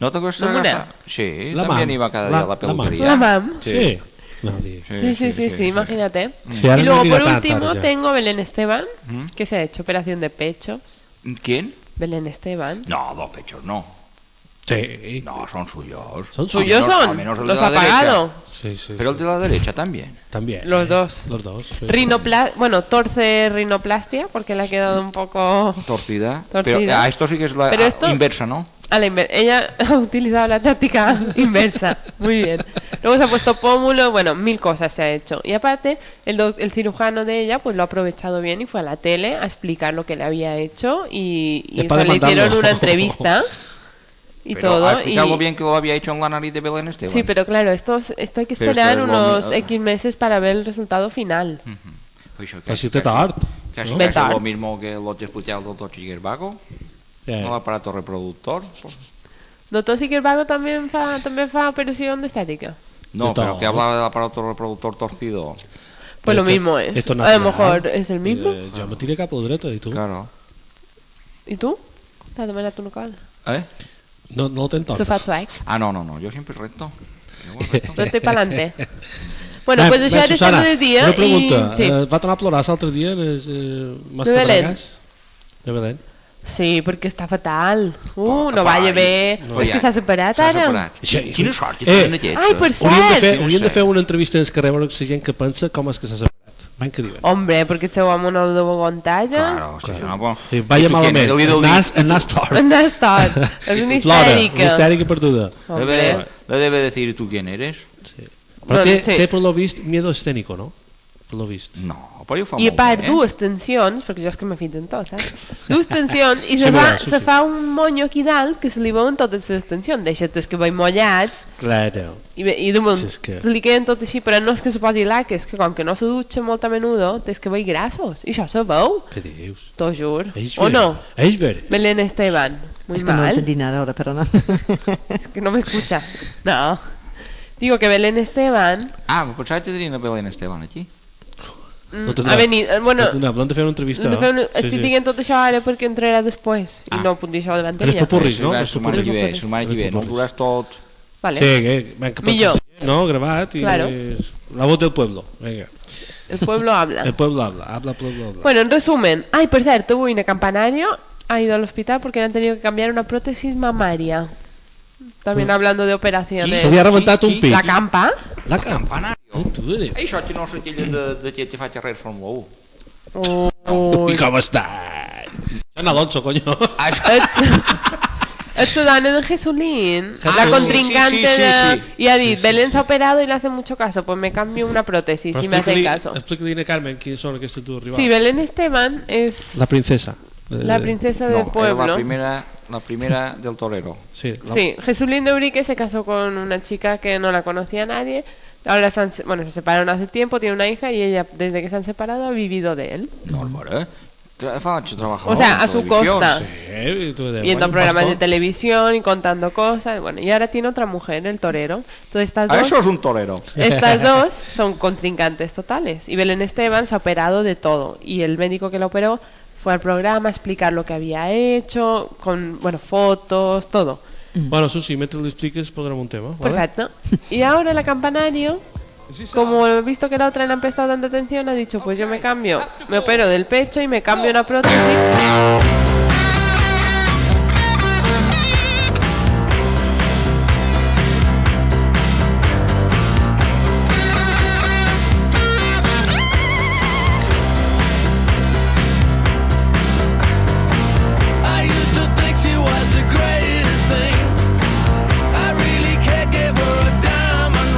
E: ¿No te cuesta
F: La mona.
E: gastar? Sí,
D: La
E: también
D: mam.
E: iba cada día
D: La-
E: a
D: la
E: la
D: mam.
E: peluquería.
F: La mam.
D: Sí. No, tío.
F: Sí, sí, sí, sí, imagínate.
D: Sí,
F: Y
D: ahora no
F: luego
D: diga
F: por
D: tantas
F: último
D: ya.
F: tengo Belén Esteban, que se ha hecho operación de pechos.
E: ¿Quién?
F: Belén Esteban.
E: No, dos pechos, no.
D: Sí.
E: No, son suyos.
D: Son suyos.
F: Suyos
E: al menos- al menos
F: son,
E: el
F: los
E: de
F: ha
E: la derecha.
F: pagado.
D: Sí, sí.
E: Pero el
D: sí.
E: de la derecha también.
D: También.
F: Los
D: eh.
F: dos.
D: Los dos. sí.
F: Rinopla bueno, torce rinoplastia, porque le ha quedado un poco
E: Torcida. Pero
F: Torcida.
E: a esto sí que es la
F: Pero
E: a-
F: esto-
E: inversa, ¿no?
F: a la inversa. Ella ha utilizado la táctica inversa. Muy bien. Luego se ha puesto pómulo, bueno, mil cosas se ha hecho. Y aparte, el, doc- el cirujano de ella pues lo ha aprovechado bien y fue a la tele a explicar lo que le había hecho y, y
D: Es
F: eso,
D: para
F: le hicieron
D: demandarlo.
F: una entrevista y
E: Pero
F: todo.
E: Ha
F: y-
E: explicado bien que lo había hecho en la nariz de Belén Esteban.
F: Sí, pero claro, esto, es- esto hay que
E: Pero esto
F: esperar
E: es lo-
F: unos X meses para ver el resultado final.
D: Mm.
F: Pues
E: Oixo, que
D: Así
E: es
D: te Pues está harto.
E: casi,
D: ¿no?
E: casi
F: Betar.
E: lo mismo que lo que explicaba el doctor Chiguerbago,
D: Eh,
E: el aparato reproductor.
F: Doctor Sickerbago también fa, también fa operación de estática.
E: No,
D: De
E: pero
D: todo.
E: que hablaba del aparato reproductor torcido.
F: Pues lo
D: esto-
F: mismo es.
D: esto es ¿eh?
F: a lo
D: natural.
F: mejor es el mismo.
D: Eh, yo me tiré capo derecho y tú.
E: Claro.
F: ¿Y tú? T'has demanat una cosa.
E: ¿Eh?
D: No, no lo tentas.
F: Se fa suec.
E: Ah, no, no, no, yo siempre recto.
F: Recte pa'lante. Bueno, pues això era
D: Susana,
F: temps de dia
D: una pregunta.
F: i... Sí.
D: Eh, va tornar a plorar l'altre dia les eh,
F: Belén.
D: mascarades? De Belén.
F: sí, perquè està fatal. Uh,
E: Però,
F: no
E: apa,
F: balla
D: eh.
F: bé.
E: no.
F: És Pues que s'ha separat
E: S'ha
F: ara.
E: separat.
D: Sí.
E: Quina sort, que
D: Eh.
E: tenen aquests,
F: Ai,
E: eh?
F: per
D: Hauríem de, fer,
F: cert!
D: hauríem de fer una entrevista en el carrer a veure la gent que pensa com és que s'ha separat. Van que diuen.
F: Hombre, perquè el seu home no el deu aguantar ja.
E: Claro, hòstia, això no pues, pot-
D: Sí, Vaya
E: I tu què,
D: malament.
E: no li deu
D: El
E: dir-
D: nas, el nas tort.
F: On has estat? És una
D: Plora,
F: histèrica.
D: una histèrica perduda.
E: Le
F: Hombre.
E: debe, le debe decir tú quién eres.
D: Però
F: Bueno,
D: té,
F: sí.
D: té per lo vist miedo escénico, no? Per lo vist.
E: No, però jo fa
F: I a
E: molt
F: part,
E: bé, eh?
F: dues tensions, perquè jo és que me fins en tot, eh? Dues tensions, i
D: Sí,
F: se, fa,
D: mira, sí,
F: se
D: sí.
F: fa un monyo aquí dalt que se li veuen totes les tensions. Deixa't que veig mollats,
D: Claro.
F: I, bé, i damunt, si
D: Si és que-
F: se li queden tot així, però no és que se posi lac, és que com que no se dutxa molt a menudo, tens que veure grassos. I això se veu,
D: Què dius?
F: t'ho jur.
D: És
F: O
D: ver.
F: no?
D: És ver.
F: Belén Esteban, muy
A: es que no
F: mal.
A: entendí nada ahora, pero no.
F: es que no me escucha. No. Digo que Belén Esteban
E: Ah, pensava que tenien a Belén Esteban aquí.
F: Mm,
D: Tot
F: ha venit, eh, bueno,
D: Tot una, vam de fer una entrevista.
F: hem de fer un...
D: Sí,
F: estic
D: sí.
F: dient tot això ara perquè entrarà després
D: Ah.
F: i no ho puc dir això davant
D: Eres
F: d'ella.
D: popurri. Corris, no?
E: Sumar,
D: Els
E: sumar
D: popurris.
E: i bé, sumar i bé, no
D: Popurris.
E: ho duràs tot.
F: Vale.
D: Sí, que, ven, que pot
F: Millor.
D: ser, no, gravat i
F: Claro.
D: la voz del pueblo. Venga.
F: El pueblo habla.
D: El pueblo habla, habla pueblo habla.
F: Bueno, en resumen, ay, por cierto, voy en el campanario, ha ido al hospital porque le han tenido que cambiar una prótesis mamaria. También hablando de operaciones.
D: se había reventado
E: Qui-
D: un
E: qui-
D: pit.
F: eh, La campa?
D: la campa.
E: Campanario.
D: Oh, tu eres.
E: Ei, això que no s'atilla de, de que te faig res Fórmula 1.
D: I com estàs? Joan Alonso, coño.
F: Es sudano de Jesulín,
D: Ah, sí,
F: la contrincante
E: sí, sí, sí,
F: de-
E: sí.
F: Y a Di, Belén se ha operado y le hace mucho caso. Pues me cambio una prótesis y me hace caso.
D: Explica-li a Carmen quins són aquests dos rivals.
F: Sí, Belén Esteban es
D: La princesa. Eh,
F: la princesa del
E: No, era la
F: pueblo.
E: primera, la primera del torero.
D: Sí, la...
F: Sí, Jesulín de Urique se casó con una chica que no la conocía nadie. Ahora se, han se- bueno, se separaron hace tiempo, tiene una hija y ella, desde que se han separado, ha vivido de él.
E: Normal, ¿eh? Tra- Facho trabajador.
F: O sea,
E: en
F: a su
E: televisión,
F: costa.
E: sí.
D: Eh, tu de-
F: Viendo
D: bueno,
F: programas de
D: pastor.
F: televisión y contando cosas. Bueno, y ahora tiene otra mujer, el torero. Entonces, estas
E: Ah,
F: dos,
E: eso es un torero.
F: estas dos son contrincantes totales. Y Belén Esteban se ha operado de todo. Y el médico que la operó fue al programa a explicar lo que había hecho, con, bueno, fotos, todo.
D: Bueno, Susi, mentre li expliques pondrem un tema. ¿vale?
F: Perfecto. Y ahora la campanario, como he visto que la otra le ha empezado dando atención, ha dicho, pues yo me cambio, me opero del pecho y me cambio una prótesis.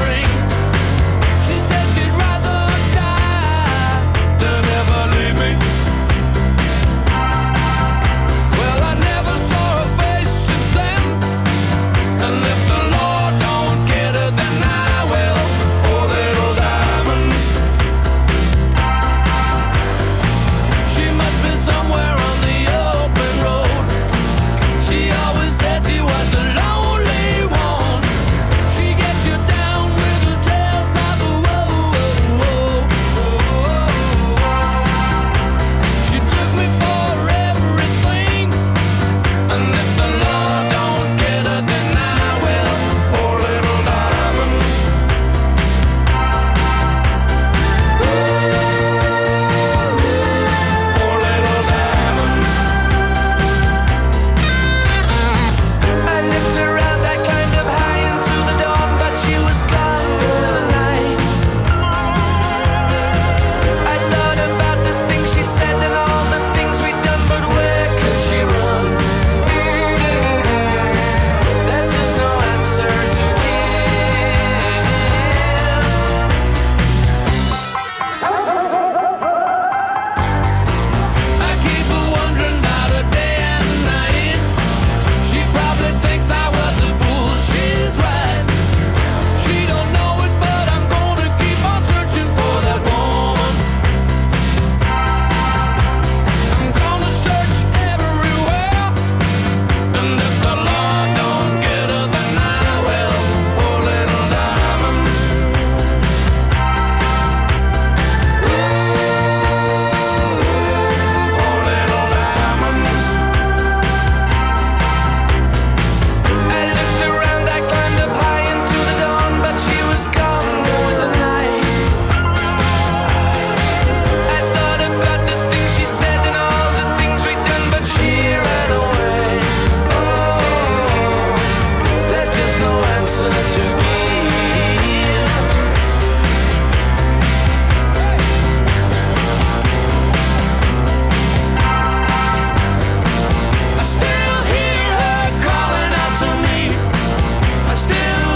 B: I Oh,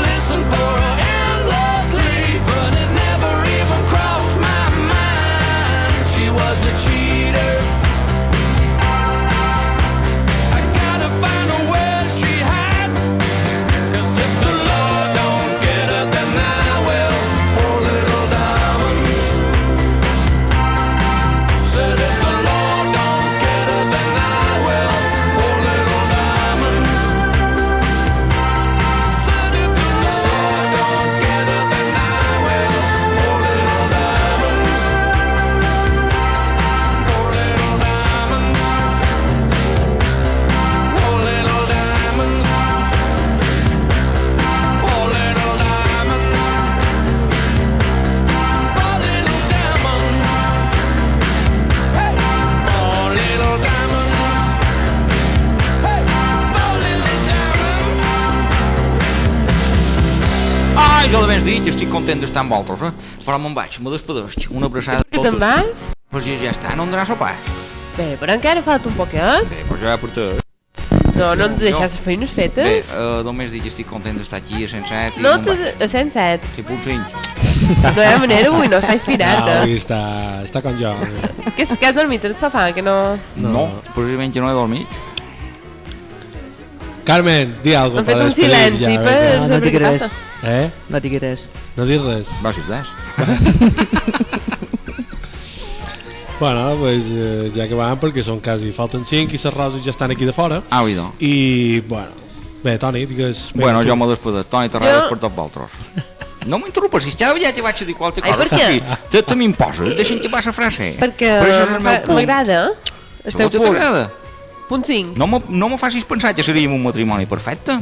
B: Oh, Oh,
E: jo l'abans dit, estic content d'estar amb vosaltres, eh? Però me'n vaig, me despedeix. Una abraçada a
F: Tu te'n
E: tots.
F: vas?
E: Pues ja, ja està, no em donarà sopar.
F: Bé, però encara falta un poquet.
E: Bé, pues ja porta...
F: No, no em
E: Jo-
F: deixar les feines
E: Bé,
F: fetes?
E: eh, només dic que estic content d'estar aquí a 107 i
F: No
E: me'n
F: te...
E: vaig.
F: A 107.
E: Sí, potser.
F: No hi ha manera avui, no està inspirat,
D: Ah,
F: eh?
D: avui està, està com jo.
F: Que, és- que has dormit al sofà, que no...
E: No, no precisament que no he dormit.
D: Carmen, di alguna
F: Hem fet un silenci
D: ja,
F: per
D: vinga.
A: No, no
F: saber què
A: digues.
F: passa.
D: Eh?
A: No digui res.
D: No dius res?
E: Gràcies, Des.
D: Bueno, pues, eh, ja acabàvem perquè són quasi... Falten 5 i les roses ja estan aquí de fora.
E: Au, idò.
D: I, bueno... Bé, Toni, digues... vinga,
E: Ah, Bueno,
D: tu.
E: jo me despedo. Toni Terrades
F: Jo-
E: per tots vosaltres. No m'interrompes, si ja, ja t'hi vaig a dir qualque
F: Ai,
E: cosa.
F: per què?
E: Sofi. Te, te m'imposes, deixa'm que passi la frase.
F: Perquè
E: Però això és el meu
F: m'agrada,
E: punt.
F: m'agrada, eh? el
E: Segur
F: teu
E: que
F: punt.
E: t'agrada.
F: Punt 5.
E: No me, no me facis pensar que seríem un matrimoni perfecte.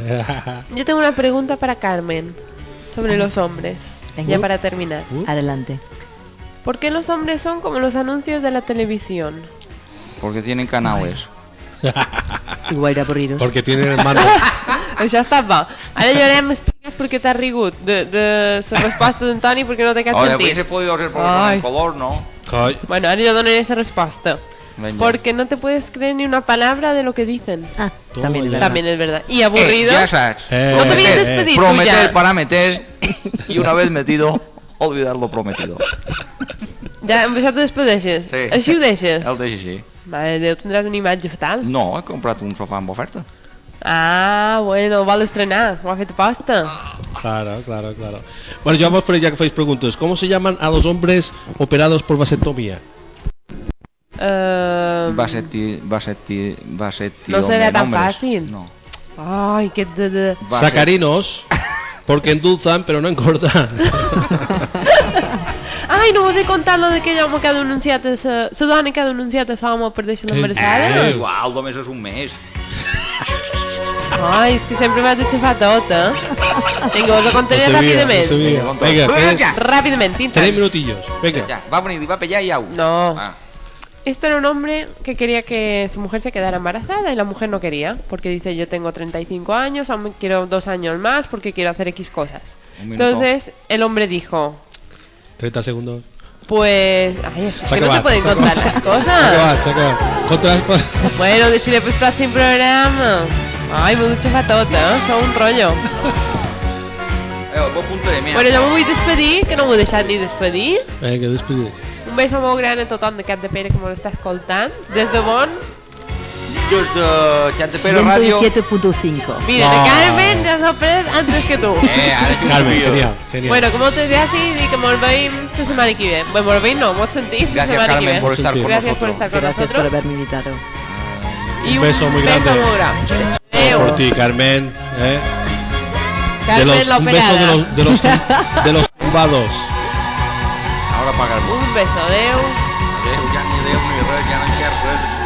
F: Yo tengo una pregunta para Carmen sobre los hombres.
A: Venga.
F: Ya para terminar.
A: Adelante.
F: ¿Por qué los hombres son como los anuncios de la televisión?
E: Porque tienen canales.
A: Igual de aburridos.
D: Porque tienen hermanos.
F: Això estava. Ara jo ara m'expliques per què t'has rigut de, de la resposta d'Antoni perquè no té cap
E: Ahora pues,
F: sentit.
E: hubiese podido ser profesor
F: Ay.
E: en color, ¿no?
D: Coi.
F: Bueno, ahora yo donaré esa respuesta.
E: Venga.
F: Porque no te puedes creer ni una palabra de lo que dicen.
A: Ah,
D: Toma
A: también es
D: ya.
A: verdad.
F: También es verdad. Y
E: Eh,
F: aburrido.
E: ya sabes.
D: Eh,
F: no te habías
D: eh,
F: despedido
E: prometer
F: ya.
E: para meter y una vez metido, olvidar lo prometido.
F: Ya, em- ja te despedeixes.
E: Sí.
F: Així ho deixes.
E: El deixo així.
F: Mare de Déu, tindràs una imatge fatal.
E: No, he comprat un sofà amb oferta.
F: Ah, bueno, ho vol estrenar. Ho ha fet aposta.
E: Ah.
D: Claro, claro, claro. Bueno, yo vos ya que hacéis preguntas. ¿Cómo se llaman a los hombres operados por vasectomía?
F: Eh,
E: Va ser ti, va ser ti, va ser ti
F: No será
E: hombre,
F: tan
E: hombres.
F: fácil.
E: No.
F: Ay, qué de, de-
E: Va ser-
D: Sacarinos, porque endulzan pero no engordan.
F: Ai, no vos he contat lo de que home que ha denunciat a sa, sa dona que ha denunciat a sa home per deixar l'embarassada?
E: Eh,
D: Eh.
E: igual, només és un mes.
F: Ai, és que sempre m'has de xafar tot, eh? Vinga, vos ho
D: No
F: contaré
D: sabía, no
F: ràpidament.
D: sabía.
E: Venga,
D: Venga,
E: contra-
D: tres,
E: Venga.
F: Ràpidament, tinta.
D: tres minutillos.
E: Ja,
D: Venga.
E: ja, va venir, va pellar i au.
F: No.
E: Ah,
F: Esto era un hombre que quería que su mujer se quedara embarazada y la mujer no quería, porque dice yo tengo 35 años, aún quiero dos años más porque quiero hacer X cosas.
E: Un minuto.
F: Entonces el hombre dijo,
D: 30 segundos.
F: pues... Ay, es
D: Se ha
F: que no se
D: acabado,
F: pueden
D: se ha
F: contar las cosas.
D: Chaca, chaca. Contra-
F: Bueno, decirle pues para sin programa. Ay, me ducho fatota, ¿eh? Son un rollo.
E: eh, el bon punter, mira.
F: Bueno, ja me vull despedir, que no m'ho he deixat ni despedir.
D: Venga, despide.
F: Un beso molt gran a tothom de Cap de Pere que me l'està escoltant. Des de bon,
E: Des de Xat de Pere Ràdio...
A: 107.5.
F: mira, de Carmen ja s'ha pres antes que tu.
E: Eh, ara que ho
D: Carmen,
E: sabia.
D: genial, genial.
F: Bueno, com moltes gràcies i que mos veiem la setmana que ve. Bé, mos veiem no, mos sentim la
E: Gracias,
F: setmana que
E: Carmen,
F: ve.
E: por estar con
F: Gracias por
E: nosotros.
F: estar con
A: Gracias por
F: nosotros.
A: haberme invitado.
F: Y
D: Un beso muy grande.
F: beso muy grande. Adeu.
D: Por ti, Carmen. ¿eh? De
F: Carmen
D: los,
F: la
D: un beso de
F: operada.
D: los, de los, tum- de los tumbados.
E: Ara pagar-vos.
F: Un beso, adeu.
E: Adéu, ja ni adéu ni res, ja no hi ha res.